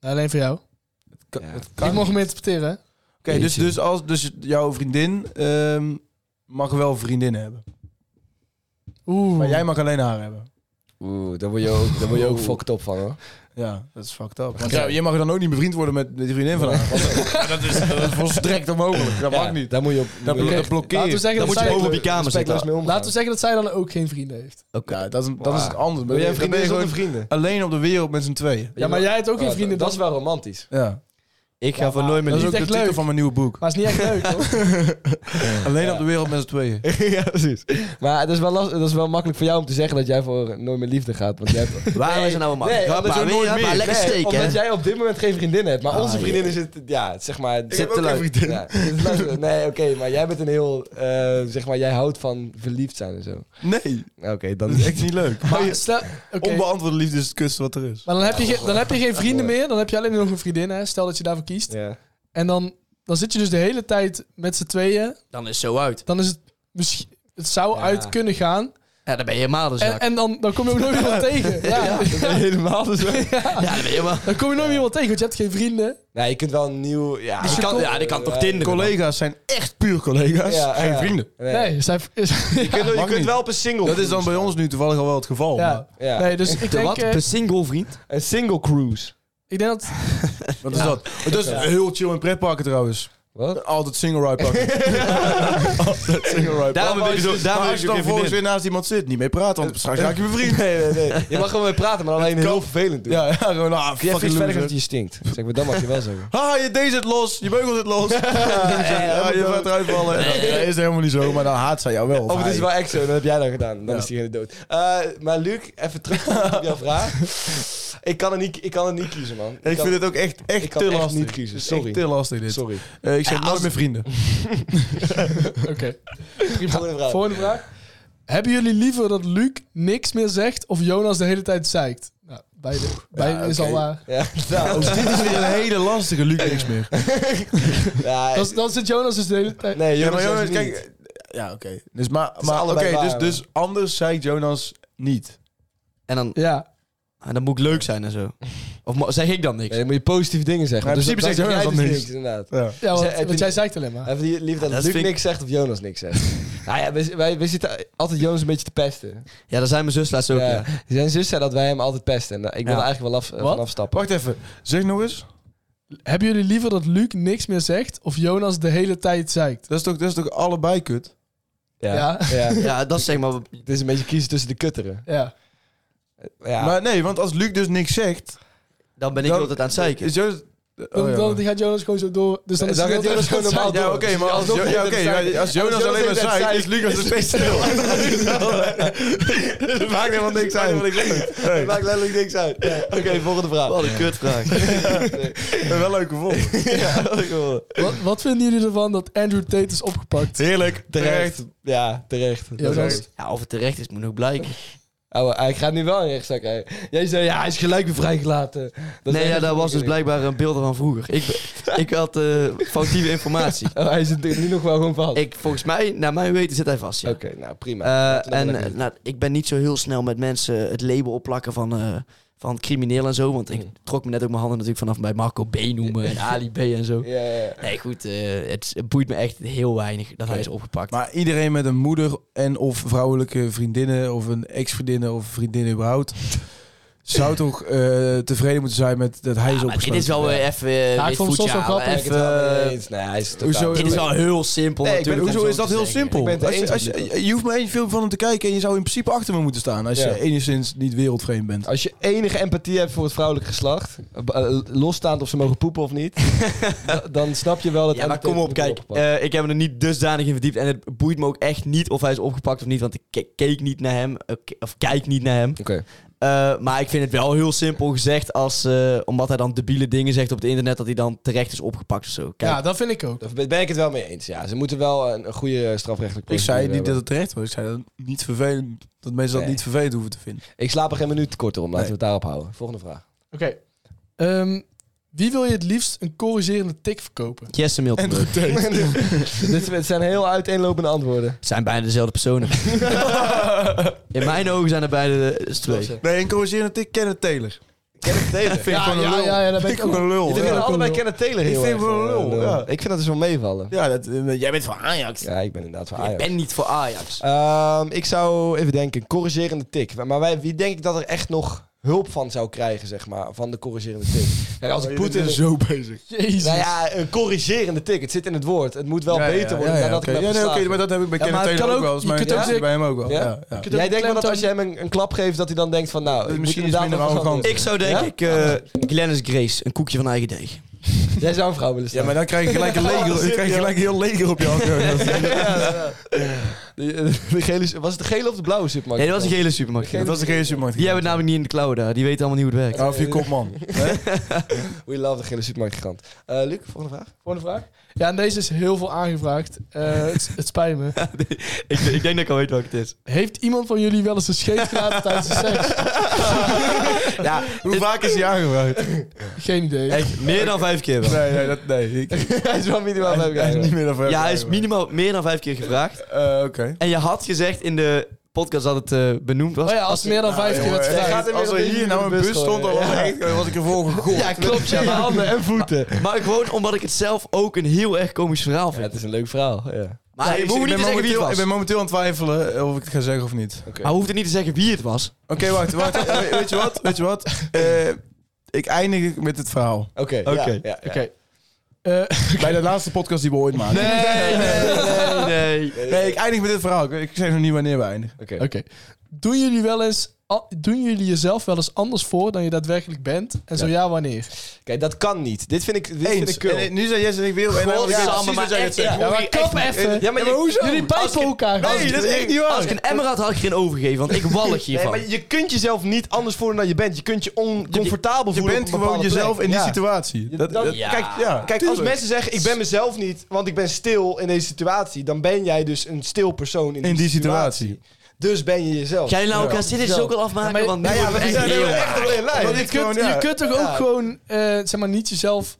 C: Alleen voor jou.
D: Ka-
B: Ja.
D: het
C: ik
D: kan
C: mocht
D: niet.
C: hem interpreteren. hè?
D: Oké, dus, dus, als, dus jouw vriendin ehm, mag wel vriendinnen hebben.
C: Oeh.
D: Maar jij mag alleen haar hebben.
B: Oeh, daar word je ook, daar word je ook fucked op van hoor.
D: Ja, dat is fucked up. Want ja, je mag dan ook niet bevriend worden met die vriendin van haar. Want Dat is, dat is volstrekt onmogelijk. Dat mag niet.
B: Daar moet je op.
D: Dat,
B: moet je-
D: blo- dat blokkeer
C: Laten
D: je.
C: we zeggen
E: Dan
C: dat
E: moet je
C: zij...
E: boven op die kamer
B: respectloos
E: zitten.
B: mee omgaan.
C: Laten we zeggen dat zij dan ook geen vrienden heeft.
D: Ja, dat is, dat is het anders.
B: Wil jij
D: Dan ben
B: vrienden
D: je
B: zonder
D: gewoon
B: vrienden?
D: alleen op de wereld met z'n tweeën.
C: Ja, maar jij hebt ook geen
B: Oh,
C: vrienden.
B: Dat is
C: dan.
B: wel romantisch.
D: Ja.
E: Ik ga voor nooit meer
D: Dat is
E: lief.
D: ook de
C: echt
D: titel
C: leuk.
D: van mijn nieuwe boek.
C: Maar het is niet echt leuk, hoor.
D: Alleen op de wereld met z'n tweeën.
B: ja, precies. Maar het is, wel last, dat is wel makkelijk voor jou om te zeggen dat jij voor nooit meer liefde gaat. Want jij hebt...
E: Waar is er nou een man?
B: Nee,
E: Ja,
B: omdat
E: maar
B: je
E: weer, ja, maar lekker
B: Nee,
E: steken, hè?
B: Omdat jij op dit moment geen vriendin hebt. Maar onze vriendinnen zitten, ja, zeg maar...
E: heb ook geen vriendin.
B: Ja, zitten te luisteren. nee, oké, maar jij bent een heel, eh, zeg maar, jij houdt van verliefd zijn en zo.
D: Nee,
B: Oké, dan
D: dat is echt niet leuk.
C: Maar, stel, oké.
D: Onbeantwoorde liefde is het kusten wat er is.
C: maar dan, heb je geen, dan heb je geen vrienden meer. Dan heb je alleen nog een vriendin, hè. Stel dat je daarvoor kiest.
B: Ja.
C: En dan, dan zit je dus de hele tijd met z'n tweeën.
E: Dan is zo uit.
C: Dan is het misschien... Het zou
B: Ja.
C: uit kunnen gaan.
E: Ja, dan ben je helemaal dus de
C: En,
E: zak.
C: en dan, dan kom je ook nooit iemand tegen. Ja.
B: Helemaal dus
E: Ja, dan ben je helemaal...
C: Dan kom je nooit iemand tegen, want je hebt geen vrienden.
B: Nee, je kunt wel een nieuw... Ja,
E: Die kan, ja, die kan toch Tinder.
D: Collega's zijn echt puur collega's.
B: Ja,
D: geen
B: ja.
D: vrienden.
B: Nee.
C: Nee, zij, is-
B: Je kunt, je
D: mag
B: kunt
D: niet.
B: wel op een single
D: Dat is
B: cruise
D: dan bij
B: gaan.
D: ons nu toevallig al wel het geval. maar-
C: ja.
B: Ja.
C: Nee, dus ik
E: De
C: denk,
E: wat?
C: eh,
E: Een single vriend?
B: Een single cruise.
C: ik denk dat...
D: Wat is dat? Het is heel chill in pretparken trouwens.
B: Wat?
D: Altijd single ride pakken. Altijd single ride
E: Daarom heb ik zo- daarom
D: Maar
E: heb ik ook
D: als je dan
E: geen
D: vervolgens
E: vriendin.
D: weer naast iemand zit, niet mee praten, want straks raak je mijn vriend.
B: Nee, nee, nee. Je mag gewoon mee praten, maar alleen heel vervelend doen.
D: Ja, ja, gewoon, ah,
B: Jij
D: fucking
B: vindt verder
D: loser.
B: dat je stinkt. Zeg maar, dat mag je wel zeggen.
D: Haha, je deze zit los, je beugel zit los. ja, je gaat eruit vallen. Nee, dat is helemaal niet zo, maar dan haat zij jou wel.
B: Of het is
D: hij.
B: wel echt zo, dan heb jij dan gedaan. Dan is diegene dood. Eh, maar Luc, even terug op jouw vraag. Ik kan het niet, ik kan het niet kiezen, man.
D: Ik
B: kan-
D: vind het ook echt,
B: ik
D: echt
B: kan
D: te
B: echt
D: lastig.
B: niet kiezen,
D: Het is
B: sorry.
D: Echt te lastig dit.
B: Sorry. Oh,
D: Eh, ik zeg nooit meer vrienden.
C: Oké.
B: Volgende vraag.
C: Volgende vraag. Hebben jullie liever dat Luc niks meer zegt of Jonas de hele tijd zeikt? Nou, beide, beide is
D: oké.
C: al waar.
B: Ja, nou,
D: dus dit is weer een hele lastige Luc niks meer.
B: ja,
C: Dan, dan zit Jonas dus de hele tijd...
B: nee,
D: Ja,
B: jongens,
D: maar Jonas,
B: kijk.
D: kijk. Ja, oké. Dus maar,
B: is
D: maar oké,
B: allebei
D: dus,
B: waar,
D: dus anders zei Jonas niet.
E: En dan,
C: Ja.
E: en dan moet ik leuk zijn en zo. Of mo- zeg ik dan niks?
B: dan moet je positieve dingen zeggen.
D: Maar in
B: Dus
D: principe
B: dat-
D: zegt
B: dat-
D: Jonas
B: jij
D: dan
B: dus Inderdaad.
D: Ja.
C: ja,
B: Zij-
C: want,
B: heb
C: want
B: je-
C: jij zeikt alleen maar.
B: Even die- liever dat,
E: Ja, dat
B: Luc
E: vind ik-
B: niks zegt of Jonas niks zegt. nou ja, wij, wij, wij zitten altijd Jonas een beetje te pesten.
E: Ja, dat zijn mijn zus laatst ook,
B: Ja.
E: ja.
B: Zijn zus zei dat wij hem altijd pesten. En, eh, ik wil
E: Ja.
B: er eigenlijk wel af, eh,
C: Wat?
B: vanaf stappen.
D: Wacht even, zeg nog eens.
C: Hebben jullie liever dat Luc niks meer zegt of Jonas de hele tijd zeikt?
D: Dat is toch, dat is toch allebei kut?
C: Ja.
B: ja.
E: Ja, dat is zeg maar...
B: Het is een beetje kiezen tussen de kutteren.
C: Ja.
B: Ja.
D: Maar nee, want als Luc dus niks zegt,
E: Dan ben ik
D: Dan-
E: altijd aan het zeiken.
D: is Jonas...
C: Dan,
D: oh, ja.
C: dan gaat Jonas gewoon zo door. Dus dan is
B: Dan
C: hij
B: gaat
C: de hele
B: Jonas
C: tijd
B: gewoon normaal
C: zeiken.
D: Ja, oké, maar als, Jo- ja, oké, maar als Jonas alleen maar zei, is Lucas een steeds stil. Het maakt helemaal niks uit. wat ik zeg. Nee,
B: maakt letterlijk niks uit. Oké, volgende vraag.
E: Wat een kutvraag.
D: Wel leuk gevonden.
C: Wat, wat vinden jullie ervan dat Andrew Tate is opgepakt?
D: Heerlijk.
B: Terecht. Ja, terecht. Dat
C: Jonas.
B: is-
E: Ja, of het terecht is, moet nog blijken.
B: Ouwe, hij gaat nu wel in rechtszaak. hè. Jij zei, ja, hij is gelijk weer vrijgelaten. Dat
E: nee,
B: is
E: ja,
B: echt
E: dat
B: een
E: was dus
B: verkeering.
E: blijkbaar een beelden van vroeger. Ik, be- ik had eh, foutieve informatie.
B: Oh, hij zit nu nog wel gewoon vast.
E: Ik, volgens mij, naar mijn weten, zit hij vast. Ja.
B: Oké, nou prima.
E: Eh,
B: Laten we dan
E: en
B: maar
E: eh,
B: lekker
E: nou, ik ben niet zo heel snel met mensen het label opplakken van, eh, van crimineel en zo. Want ik trok me net ook mijn handen natuurlijk vanaf bij Marco B noemen en Ali B en zo.
B: doen. Ja, ja, ja.
E: Nee, goed, eh, het, het boeit me echt heel weinig dat hij is opgepakt.
D: Maar iedereen met een moeder en of vrouwelijke vriendinnen of een ex-vriendinnen of vriendinnen überhaupt... zou toch eh, tevreden moeten zijn met dat hij is
E: Ja, maar dit
D: opgesloten.
E: is wel weer even... eh,
C: ik
E: wit
C: vond het
E: voetje
C: soms wel
E: halen,
C: grappig. eh,
B: Ik ben het wel
E: even-
B: mee eens. Nee, hij is totaal...
D: Hoezo-
E: Dit is wel heel simpel
B: Nee, ik ben-
E: natuurlijk.
D: Hoezo
E: om
D: is
E: zo
D: dat
E: te
D: heel
E: zeggen.
D: simpel?
B: ben het
D: Als
B: eens
D: je, als
B: met
D: je, je hoeft maar één film van hem te kijken en je zou in principe achter me moeten staan. Als
B: Ja.
D: je enigszins niet wereldvreemd bent.
B: Als je enige empathie hebt voor het vrouwelijk geslacht, eh, losstaand of ze mogen poepen of niet, da- dan snap je wel dat...
E: Ja, maar kom op, kijk. eh, ik heb me er niet dusdanig in verdiept. En het boeit me ook echt niet of hij is opgepakt of niet. Want ik ke- keek niet naar hem. eh, ke- Of kijk niet naar hem.
B: Oké.
E: Eh, maar ik vind het wel heel simpel gezegd. Als, eh, omdat hij dan debiele dingen zegt op het internet. Dat hij dan terecht is opgepakt of zo. Kijk,
C: Ja, dat vind ik ook.
B: Daar ben ik het wel mee eens. Ja, ze moeten wel een, een goede eh, strafrechtelijke
D: Ik zei
B: procedure
D: niet
B: hebben.
D: dat het terecht was. Ik zei dat het niet vervelend. Dat mensen dat
B: Nee.
D: niet vervelend hoeven te vinden.
B: Ik slaap er geen minuut korter om. Laten
D: Nee.
B: we het daarop houden. Volgende vraag.
C: Oké. Ehm, wie wil je het liefst een corrigerende tik verkopen?
E: Jesse Miltenburg.
B: Dit zijn- het zijn heel uiteenlopende antwoorden.
E: Het zijn bijna dezelfde personen. in mijn ogen zijn er beide eh, twee.
D: Nee, en corrigerend ik ken het Taylor.
B: Taylor.
D: Vind ik gewoon een
C: ja,
D: lul.
C: Ah, ja, ja, dat ben
D: vind
C: ik
D: Ah, ik gewoon een lul.
B: Jullie vinden
D: Ja,
B: allebei Kenneth Taylor heel
D: Ik vind
B: erg,
D: hem wel een
B: eh,
D: lul, ja.
B: Ik vind dat dus wel meevallen.
D: Ja, dat, eh, jij bent van Ajax.
B: Ja, ik ben inderdaad van
E: Ik
B: Ajax.
E: ben niet voor Ajax.
B: Ehm, ik zou even denken, corrigerende tik. Maar wij, wie denk ik dat er echt nog hulp van zou krijgen, zeg maar, van de corrigerende tick. Kijk,
D: Oh,
B: als ik Poetin...
D: zo bezig.
C: Jezus.
B: Nou ja, een corrigerende tik. Het zit in het woord. Het moet wel beter worden
D: Ja, ja,
B: nadat
D: oké.
B: ik
D: Ja,
B: hem heb
D: nee, oké,
B: verslagen.
D: maar dat heb ik bij
B: Ja,
D: Kenneth
B: maar het
D: Taylor
B: kan
D: ook
B: ook-
D: wel eens.
B: je
D: Maar
B: kunt ook
D: dat zit
B: zeggen-
D: bij hem ook wel.
B: Ja?
D: Ja, ja.
C: kunt ook
B: Jij denkt wel dat
C: klemtoon-
B: als je hem een, een klap geeft, dat hij dan denkt van, nou, ik
D: Misschien
B: moet
D: is het
B: inderdaad
D: minder
B: nog wat
D: arrogant.
B: anders.
E: Ik zou denk
B: Ja?
E: ik eh, Glennis Grace, een koekje van eigen deeg.
B: Jij zou een vrouw willen
D: Ja,
B: staan.
D: maar dan krijg je gelijk een leger, dan krijg je gelijk een heel leger op je hand.
B: Die- de gele- was het de gele of de blauwe supermarkt?
E: Nee, dat was een gele supermarkt.
D: Dat was de geen supermarkt.
E: Die hebben het namelijk niet in de klauwen daar. Die weten allemaal niet hoe het werkt.
D: Of je kopman.
B: Oh, We love de gele supermarktgigant. Eh Luc, volgende vraag.
C: Volgende vraag. Ja, en deze is heel veel aangevraagd. Eh, het, het spijt me.
E: ik, ik denk dat ik al weet wat het is.
C: Heeft iemand van jullie wel eens een scheet gelaten tijdens de seks?
E: Ja,
D: Hoe vaak is hij aangevraagd?
C: Geen idee.
E: echt meer dan vijf keer wel.
D: Nee, nee, dat, nee. Ik,
B: Hij is wel minimaal
D: hij,
B: vijf
D: hij is
B: keer.
D: niet meer dan vijf
E: Ja, hij is
D: jaar
E: minimaal meer dan vijf keer gevraagd.
D: aangevraagd. Eh, Oké.
E: En je had gezegd in de podcast dat het eh, benoemd was.
C: Oh ja, als het meer dan vijf keer
D: Jongen,
C: werd gevraagd.
B: gaat hem
D: Als
B: weer
D: er
B: opnieuw
D: hier nou
B: in
D: een
B: de
D: bus
B: bus
D: stond, dan
B: gooien.
D: was, ik echt, was ik ervoor gegooid.
B: Ja, klopt. Ja, maar handen en voeten.
E: Maar gewoon omdat ik het zelf ook een heel erg komisch verhaal
B: Ja,
E: vind.
B: het is een leuk verhaal. Ja.
E: Maar
D: Ja,
E: hij
D: Ah, ik-
E: hoeft
D: ik
E: niet
D: ben
E: te zeggen wie het
D: momenteel-
E: was.
D: Ik ben momenteel aan het twijfelen eh, of ik het ga zeggen of niet. Oké,
E: Hij hoeft er niet te zeggen wie het was.
D: wacht, wacht. Eh, weet je wat? Weet je wat? Eh, ik eindig met het verhaal.
B: Oké. ja,
E: Oké.
B: ja, ja.
C: Oké. Eh,
D: Bij de laatste podcast die we ooit maken. Nee,
E: Nee, nee, nee.
D: ik eindig met dit verhaal. Ik, ik zeg nog niet wanneer we eindigen.
B: Oké.
C: Oké. Doen jullie wel eens... a- Doen jullie jezelf wel eens anders voor dan je daadwerkelijk bent? En zo
B: Ja.
C: ja, wanneer?
B: Kijk, dat kan niet. Dit vind ik, dit vind
D: Eens.
B: ik kul.
D: En, eh, nu zei Jess en ik weer op en dan-
E: Godsamme,
D: ik weet precies
E: maar
D: wat jij
E: echt,
D: gaat zeggen.
E: ik hoor
C: Ja, maar
E: hier
C: kap
E: echt-
C: even.
B: Eh, Ja, maar, je-
C: Jullie pijpen elkaar.
E: Als
C: gast.
E: ik-
D: dat is echt niet waar.
E: Als ik een emmer had, had ik geen overgegeven, want ik wallig
B: Nee,
E: hiervan.
B: maar je kunt jezelf niet anders voelen dan je bent. Je kunt je oncomfortabel
D: Je
B: voelen.
D: bent
B: op een
D: gewoon
B: bepaalde
D: jezelf
B: plek.
D: in die
B: Ja.
D: situatie. Dat,
B: dat-
D: dat-
E: ja.
D: Kijk, ja.
B: Kijk, als
D: tuurlijk.
B: mensen zeggen ik ben mezelf niet, want ik ben stil in deze situatie, dan ben jij dus een stil persoon in,
D: In die situatie.
B: Dus ben je jezelf.
E: Ga je nou elkaar zitten dus ook al afmaken?
C: maar-
E: want nu
B: nou ja,
E: wordt
B: we
E: het echt
B: zijn
E: heel
B: er
E: erg.
B: echt wel in
D: Want
B: lijn.
D: dit-
C: je, kunt,
D: gewoon, ja.
C: je kunt toch
B: Ja.
C: ook gewoon eh, zeg maar, niet jezelf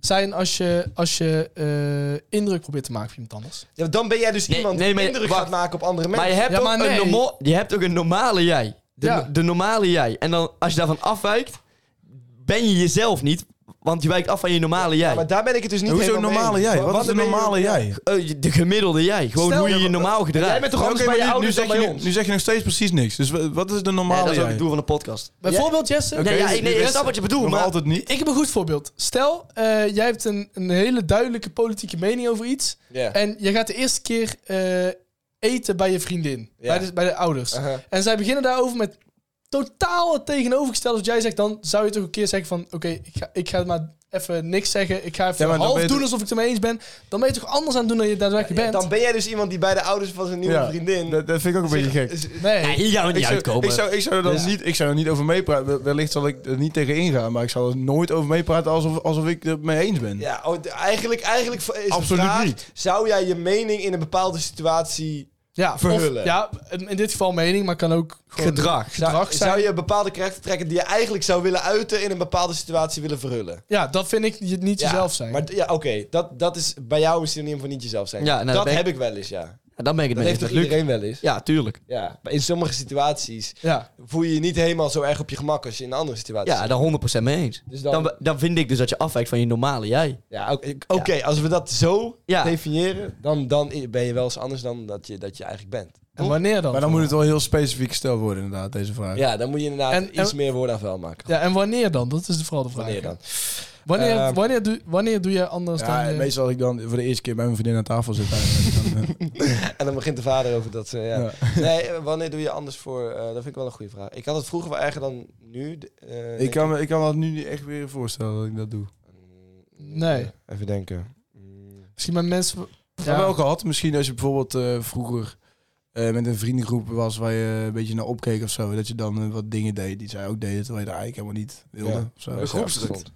C: zijn als je, als je eh, indruk probeert te maken op iemand anders?
B: Ja, dan ben jij dus
E: Nee,
B: iemand
E: nee,
B: die
E: maar-
B: indruk
E: wacht.
B: gaat maken op andere
E: Maar
B: mensen.
E: je hebt,
C: Ja,
E: ook
C: maar
E: een
C: nee.
E: normo- je hebt ook een normale jij. De,
C: Ja.
E: de normale jij. En dan, als je daarvan afwijkt, ben je jezelf niet, want je wijkt af van je normale jij.
B: Maar daar ben ik het dus niet
D: Hoezo
B: helemaal mee
D: normale
B: eens.
D: jij?
B: Wa-
D: Wat is de
B: wanneer ben je-
D: normale jij?
E: Eh, je- de gemiddelde jij. Gewoon
B: Stel-
E: hoe je je normaal gedraagt.
B: Jij bent toch anders
D: Oké,
B: bij
D: maar
B: je
D: nu- nu,
B: ouders dan
D: zeg je,
B: bij
D: nu-
B: ons?
D: nu zeg je nog steeds precies niks. Dus wa- wat is de
E: Nee,
D: normale
E: dat is ook
D: jij?
E: het doel van de podcast.
C: Bijvoorbeeld, Jesse.
D: Oké.
E: Nee, ja, ik, nee, ik
D: dus-
E: snap wat je bedoelt,
D: Nog
E: maar...
D: altijd niet.
C: Ik heb een goed voorbeeld. Stel, eh, jij hebt een, een hele duidelijke politieke mening over iets.
B: Ja.
C: En je gaat de eerste keer eh, eten bij je vriendin.
B: Ja.
C: Bij, de, bij de ouders.
B: Aha.
C: En zij beginnen daarover met totaal het tegenovergestelde. Als jij zegt, dan zou je toch een keer zeggen van... Oké, ik, ga, ik ga maar even niks zeggen. Ik ga
D: Ja,
C: even
D: maar dan
C: half
D: ben je
C: doen
D: toch-
C: alsof ik het ermee eens ben. Dan ben je toch anders aan het doen dan je daadwerkelijk
B: Ja,
C: bent.
B: Dan ben jij dus iemand die bij de ouders van zijn nieuwe
D: Ja.
B: vriendin...
D: Dat, dat vind ik ook een beetje gek.
C: Nee.
E: Nee, hier gaan we niet
D: Ik zou,
E: uitkomen.
D: ik, zou, ik, zou er dan
C: Ja.
D: niet, ik zou er niet over meepraten. We- Wellicht zal ik er niet tegen ingaan, maar ik zal er nooit over meepraten alsof, alsof ik het mee eens ben.
B: Ja, oh, d- eigenlijk, eigenlijk v- is
D: Absoluut
B: de vraag,
D: niet.
B: zou jij je mening in een bepaalde situatie...
C: ja, of-
B: verhullen.
C: ja, in in dit geval mening, maar kan ook... gewoon-
B: Gedrag. Zou,
C: Gedrag zijn.
B: zou je bepaalde krachten trekken die je eigenlijk zou willen uiten in een bepaalde situatie willen verhullen?
C: Ja, dat vind ik je- niet
B: Ja,
C: jezelf zijn.
B: Maar d- ja, oké, dat, dat is bij jou een synoniem van niet jezelf zijn.
E: Ja, nou,
B: dat
E: ben ik-
B: heb ik wel eens, ja.
E: Ja, dan ben ik het
B: Dat
E: mee
B: heeft
E: eens
B: toch
E: met Luc.
B: iedereen wel eens?
E: Ja, tuurlijk.
B: Ja, maar in sommige situaties
C: ja.
B: voel je je niet helemaal zo erg op je gemak als je in een andere situatie
E: Ja,
B: zit.
E: daar 100% mee eens.
B: Dus dan-
E: dan... Dan, vind ik dus dat je afwijkt van je normale jij.
B: Ja, oké, oké, als we dat zo
E: Ja.
B: definiëren, dan, dan i- ben je wel eens anders dan dat je, dat je eigenlijk bent.
C: En wanneer dan?
D: Maar dan moet het wel heel specifiek gesteld worden, inderdaad, deze vraag.
B: Ja, dan moet je inderdaad
C: En-
B: iets
C: en-
B: meer woorden aan vuil maken.
C: Ja, en wanneer dan? Dat is de- vooral de vraag.
B: Wanneer dan?
C: Wanneer,
B: Ehm,
C: wanneer, doe, wanneer doe je anders
D: Ja,
C: dan... eh,
D: meestal als ik dan voor de eerste keer bij mijn vriendin aan tafel zit. eigenlijk, dan, eh,
B: En dan begint de vader over dat ze. Ja.
D: Ja.
B: Nee, eh, wanneer doe je anders voor? eh, dat vind ik wel een goede vraag. Ik had het vroeger wel erger dan nu. d- eh,
D: ik,
B: denk
D: kan, me- ik kan me dat nu niet echt weer voorstellen dat ik dat doe.
B: Mm,
C: Nee.
B: Even denken. Mm.
C: Misschien met mensen...
D: Ja.
C: Ja.
D: wel gehad. Misschien als je bijvoorbeeld eh, vroeger eh, met een vriendengroep was waar je een beetje naar opkeek of zo. Dat je dan eh, wat dingen deed die zij ook deden, terwijl je dat eigenlijk helemaal niet wilde.
B: Ja.
D: of zo.
B: Ja,
D: Groepsdruk.
B: gezond.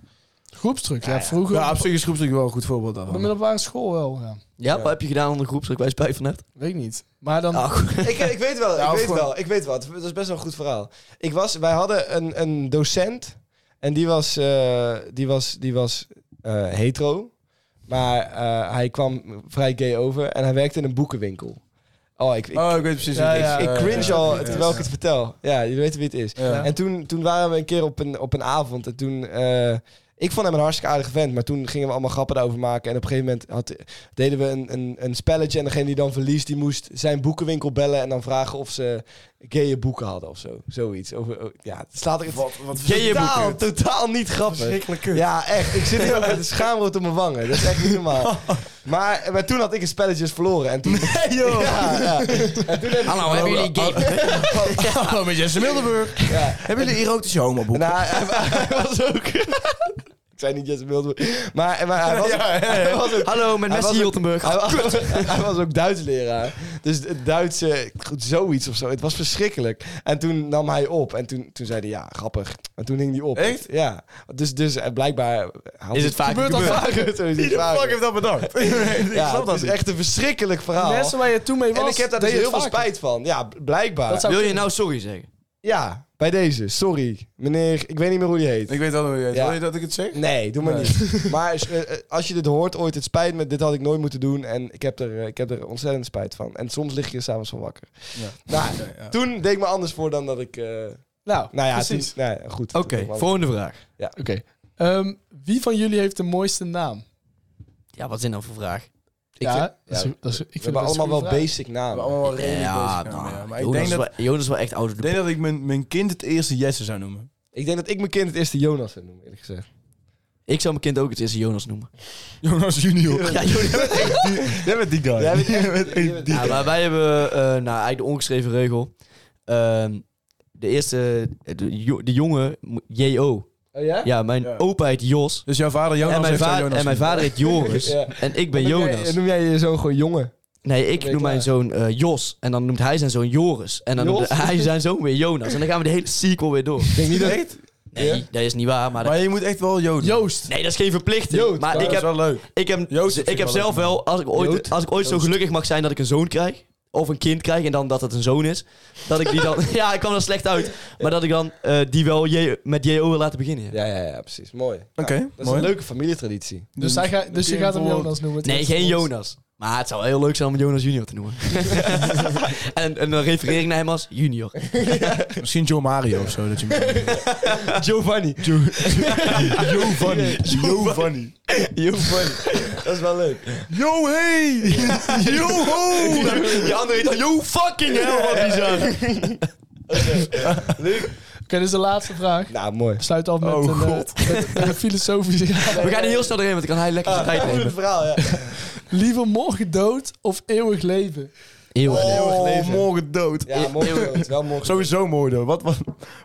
C: Groepsdruk, ja.
D: Ja,
C: vroeger
D: Ja, op zich is groepsdruk wel een goed voorbeeld
C: op de
D: daarvan.
C: middelbare school wel, ja.
E: Ja,
B: Ja.
E: wat heb je gedaan onder groepsdruk bij Spijt van Net?
C: Weet ik niet. Maar dan...
E: Ah, goed.
B: ik, ik weet wel,
D: Ja,
B: ik
D: of
B: weet
D: gewoon-
B: wel, ik weet wel. Het- Dat is best wel een goed verhaal. Ik was, wij hadden een, een docent en die was, eh, die was, die was eh, hetero, maar eh, hij kwam vrij gay over en hij werkte in een boekenwinkel. Oh, ik, ik,
D: Oh, ik weet precies.
C: Ja,
D: wie het
C: ja.
D: is.
B: ik
D: Ja,
B: cringe
D: ja,
B: al
D: ja.
B: terwijl ik het vertel. Ja, je weet wie het is.
D: Ja.
B: En toen, toen waren we een keer op een, op een avond. En toen eh, Ik vond hem een hartstikke aardige vent, maar toen gingen we allemaal grappen daarover maken. En op een gegeven moment had, deden we een, een, een spelletje. En degene die dan verliest, die moest zijn boekenwinkel bellen. En dan vragen of ze gaye boeken hadden of zo. Zoiets. Of, oh, ja, het slaat er
D: Wat, wat
B: totaal, totaal niet grappig. Ja, echt. Ik zit hier ook met een schaamrood op mijn wangen. Dat is echt niet normaal. Maar, maar toen had ik een spelletje dus verloren. En toen... Nee, joh! Ja, ja. En toen heb ik-
D: Hallo, hebben jullie gay... Hallo, met Jesse Mildenburg.
B: Ja.
D: Hebben jullie erotische homoboeken?
B: Nou, hij, hij was ook... ik zei niet Jesse Mildenburg. Maar, maar hij was, hij was ook...
E: Hallo, met
B: Hij
E: Messi
B: was ook-
E: Hiltenburg.
B: Hij was, hij was ook Duits leraar. Dus het Duitse, goed, zoiets of zo. Het was verschrikkelijk. En toen nam hij op. En toen, toen zei hij, ja, grappig. En toen hing hij op.
D: Echt?
B: Ja. Dus, dus eh, blijkbaar...
E: Is het vaak
B: Gebeurt dat
E: gebeurd?
B: vaker? Zo is het vaker.
D: heeft dat bedacht?
B: Ja, het is echt een verschrikkelijk verhaal.
C: Mensen waar je toen mee was,
B: En ik heb daar dus
C: deed
B: heel
C: het
B: veel
C: vaker.
B: spijt van. Ja, b- blijkbaar.
C: Dat zou-
E: Wil je nou sorry zeggen?
B: Ja, bij deze. Sorry. Meneer, ik weet niet meer hoe die heet.
D: Ik weet al hoe je
B: Ja.
D: Wil je dat ik het zeg?
B: Nee, doe maar
D: Nee.
B: niet. Maar als- eh, eh, als je dit hoort ooit, het spijt me. Dit had ik nooit moeten doen. En ik heb er, eh, ik heb er ontzettend spijt van. En soms lig je er s'avonds van wakker.
D: Ja.
B: Nou, toen deed ik me anders voor dan dat ik... eh,
C: Nou,
B: nou ja,
C: precies.
B: toen- nou ja, goed.
E: Oké,
B: Toen- maar-
E: volgende vraag.
C: Oké. Ehm, wie van jullie heeft de mooiste naam?
E: Ja, wat is dit nou voor vraag?
B: Ik
C: ja,
B: vind-
C: dat is,
B: ja,
C: dat is, ik
B: we
C: vind
B: hebben
C: dat is
B: allemaal
C: een
B: wel
C: goede vraag.
B: basic namen.
D: Allemaal redelijk bezig,
E: nou,
D: ja. Maar ik
E: Jonas,
D: denk
E: is
D: dat,
E: wel, Jonas is wel echt ouder
D: ik
E: dan
D: denk dat ik mijn, mijn kind het eerste Jesse zou noemen.
B: Ik denk dat ik mijn kind het eerste Jonas zou noemen, eerlijk gezegd.
E: Ik zou mijn kind ook het eerste Jonas noemen.
D: Jonas junior.
E: Ja, Jonas.
D: Jij bent die guy.
B: Jij bent echt- jij bent-
E: ja, maar wij hebben eh, nou, eigenlijk de ongeschreven regel. Ehm, de eerste, de, jo- de jongen, moet- J.O.
B: Oh ja?
E: Ja, mijn
D: Ja.
E: opa heet Jos.
D: Dus jouw vader Jonas
E: en mijn,
D: heeft jou
E: va-
D: Jonas
E: en mijn vader heet Joris.
B: Ja.
E: En ik ben
B: Noem jij-
E: Jonas.
B: Noem jij je zoon gewoon jongen?
E: Nee, ik
B: ben je
E: noem mijn
B: klaar.
E: zoon eh, Jos. En dan noemt hij zijn zoon Joris. En dan
B: Jos?
E: noemt hij zijn zoon weer Jonas. En dan gaan we de hele sequel weer door.
B: Ik denk niet dat...
E: Nee,
B: Ja?
E: dat is niet waar. Maar dat-
D: Maar je moet echt wel Joden.
C: Joost.
E: nee, dat is geen verplichting.
B: Jood,
E: maar
B: dat
E: ik
D: Dat is
E: heb,
D: wel leuk.
E: ik heb,
D: Joost op
E: ik
D: zich
E: heb
D: wel
E: zelf
D: leuk,
E: wel, als ik ooit,
B: Jood?
E: als ik ooit zo gelukkig mag zijn dat ik een zoon krijg. Of een kind krijg en dan dat het een zoon is. Dat ik die dan. ja, ik kwam er slecht uit. Maar dat ik dan eh, die wel J- met JO wil laten beginnen.
B: Ja, ja, ja, precies. Mooi. Oké, Dat is
D: mooi.
B: een leuke familietraditie.
C: Dus, hij ga, dus je
D: Pierre
C: gaat hem
D: Boel.
C: Jonas noemen. het
E: Nee,
C: eerste
E: geen
C: woord.
E: Jonas. Maar het zou heel leuk zijn om Jonas Junior te noemen. en, en dan refereer ik naar hem als Junior.
D: Misschien Joe Mario of zo. Dat je
B: Giovanni.
D: Giovanni. Giovanni.
B: Giovanni. Dat is wel leuk.
D: Yo, hey! Yo, ho!
E: Die andere heet dan, yo fucking hell, wat bizar.
C: Oké, dus de laatste vraag.
B: Nou, mooi.
C: Sluit af met,
D: Oh,
C: een, eh, met- met een filosofische vraag.
E: We gaan er heel snel doorheen, want dan kan hij lekker zijn tijd nemen.
B: verhaal, ja.
C: Liever morgen dood of eeuwig leven?
E: Eeuwig
B: Eeuwig
D: Oh,
B: leven.
D: morgen dood.
B: Ja, mooi. Het is wel mooi.
D: Sowieso mooi dood. Wat, wat,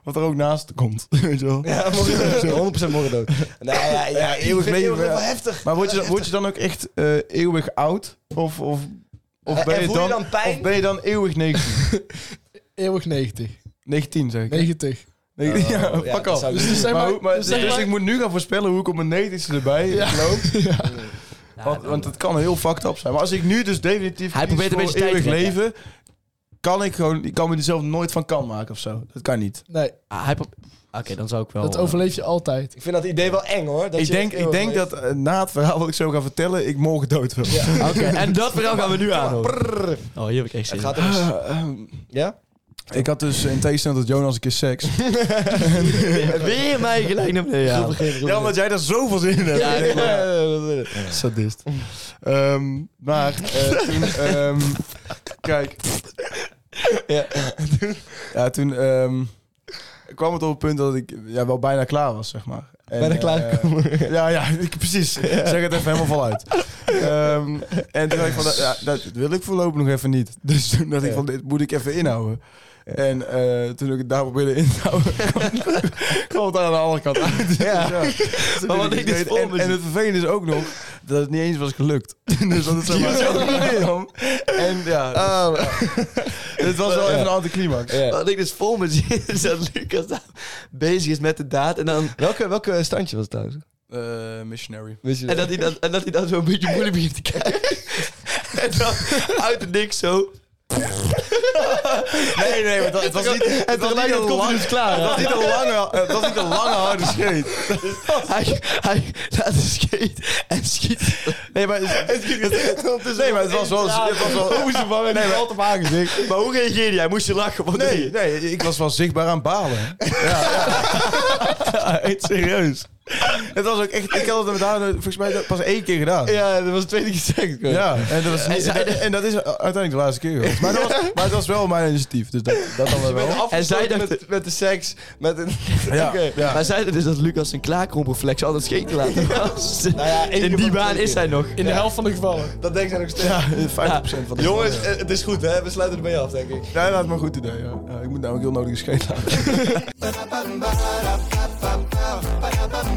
D: wat er ook naast komt. Weet je wel?
B: Ja, morgen 100% morgen dood. Nou ja, ja,
D: ik
B: eeuwig leven.
D: vind eeuwig
B: wel
D: wel
B: heftig.
D: Maar word je, dan- word je dan ook echt eh, eeuwig oud? Of, of, of,
B: En-
D: ben
B: Eh, en
D: je
B: voel je
D: dan,
B: dan pijn?
D: of ben je dan eeuwig 19?
C: Eeuwig 90.
D: 19 zeg ik.
C: 90.
D: Nee, ja,
B: Oh, ja,
D: fuck
B: dat
D: af.
B: zou ik
D: Dus,
B: doen.
C: Dus zeg
D: maar,
C: maar,
D: hoe- maar-
C: dus zeg
D: dus
C: maar-
D: ik moet nu gaan voorspellen hoe ik op mijn 19ste erbij loop. Want, want het kan heel fucked up zijn. Maar als ik nu dus definitief
E: Hij
D: kies
E: probeert een
D: voor
E: beetje tijd te
D: eeuwig
E: rekken.
D: leven, kan ik gewoon, ik kan me er zelf nooit van kan maken of zo. Dat kan niet.
C: Nee,
E: Ah, hij pro- Oké, dan zou ik wel... eh,
C: dat overleef je altijd.
B: Ik vind dat idee wel eng, hoor. Dat
D: ik
B: je
D: denk,
B: eeuwig
D: ik denk
B: leeft.
D: dat eh, na het verhaal wat ik zo ga vertellen, ik morgen dood wil.
B: Ja.
E: Oké, en dat verhaal gaan we nu aanhouden.
B: Prrr.
E: Oh, hier heb ik echt zin
B: Het
E: in.
B: gaat om...
D: Ehm,
B: Ja?
D: ik had dus in tegenstelling tot Jonas een keer seks.
E: Weer mij gelijk naar beneden halen.
D: Ja, omdat jij daar zoveel zin in hebt.
E: Ja, ik-
D: Sadist. Ehm, maar eh, toen... ehm, kijk. Ja, toen- ja, toen ehm, kwam het op het punt dat ik ja, wel bijna klaar was, zeg maar. En,
B: Bijna
D: eh,
B: klaargekomen.
D: ja, ja, ik, precies. Zeg het even helemaal voluit. Ehm, en toen dacht ik van, dat- ja, dat wil ik voorlopig nog even niet. Dus toen dacht ik van, dit moet ik even inhouden. En eh, toen ik het daar probeerde in te houden, kwam het aan de andere kant uit. Dus Ja. Dus
E: Maar wat ik dus
D: weet-
E: voor me
D: en, en
E: zie.
D: het vervelende is ook nog dat het niet eens was gelukt. dus dat het zo maar zo kwam. En ja, het was wel even een anticlimax.
B: Eh, Ja.
E: Ehm,
B: Eh,
E: Wat ik dus vol me zie, is dat Lucas daar bezig is met de daad. En, dan,
B: Welke, welke standje was het thuis?
D: Eh, missionary.
B: Weet je
E: en, dat, hij dan, en dat hij dan zo een beetje moeilijk begint te kijken. en dan uit de niks zo...
D: Nee, nee, maar dat, het was niet, het was niet een lange,
E: dus klaar.
D: het was niet een lange, het was niet een lange harde scheet.
E: Hij, hij laat de skate en schiet.
D: Nee, maar het, nee, maar het was wel, het was wel,
B: vangen
D: nee, maar,
E: Maar hoe reageerde jij? Moest je lachen? Wat deed je?
D: nee, nee, ik was wel zichtbaar aan het balen. Ja, ja. echt serieus. Het was ook echt... Ik had het met haar volgens mij pas één keer gedaan.
B: Ja, dat was het tweede keer seks. hoor.
D: Ja, en dat, was niet, en, dat, en dat is uiteindelijk de laatste keer geweest. Maar, dat was, maar het was wel mijn initiatief, dus dat, dat dan weer
B: Je bent
D: wel.
B: afgesloten
E: En zij dacht-
B: met, met de seks. Met een...
D: Ja,
B: Oké.
D: ja.
E: Maar zeiden dus dat Lucas zijn klaarkromreflex altijd scheet te laten was.
D: Nou
B: ja, één
E: In
B: keer
E: die
B: van
E: baan
B: twee
E: is
B: keer.
E: hij nog.
C: In de helft van de gevallen.
B: Dat denkt zij nog steeds.
D: Ja, 50% van de
B: Jongens, eh, het is goed hè. We sluiten ermee af, denk ik.
D: Ja, dat is maar een goed idee. Ja. Ja, ik moet namelijk heel nodig een scheet laten.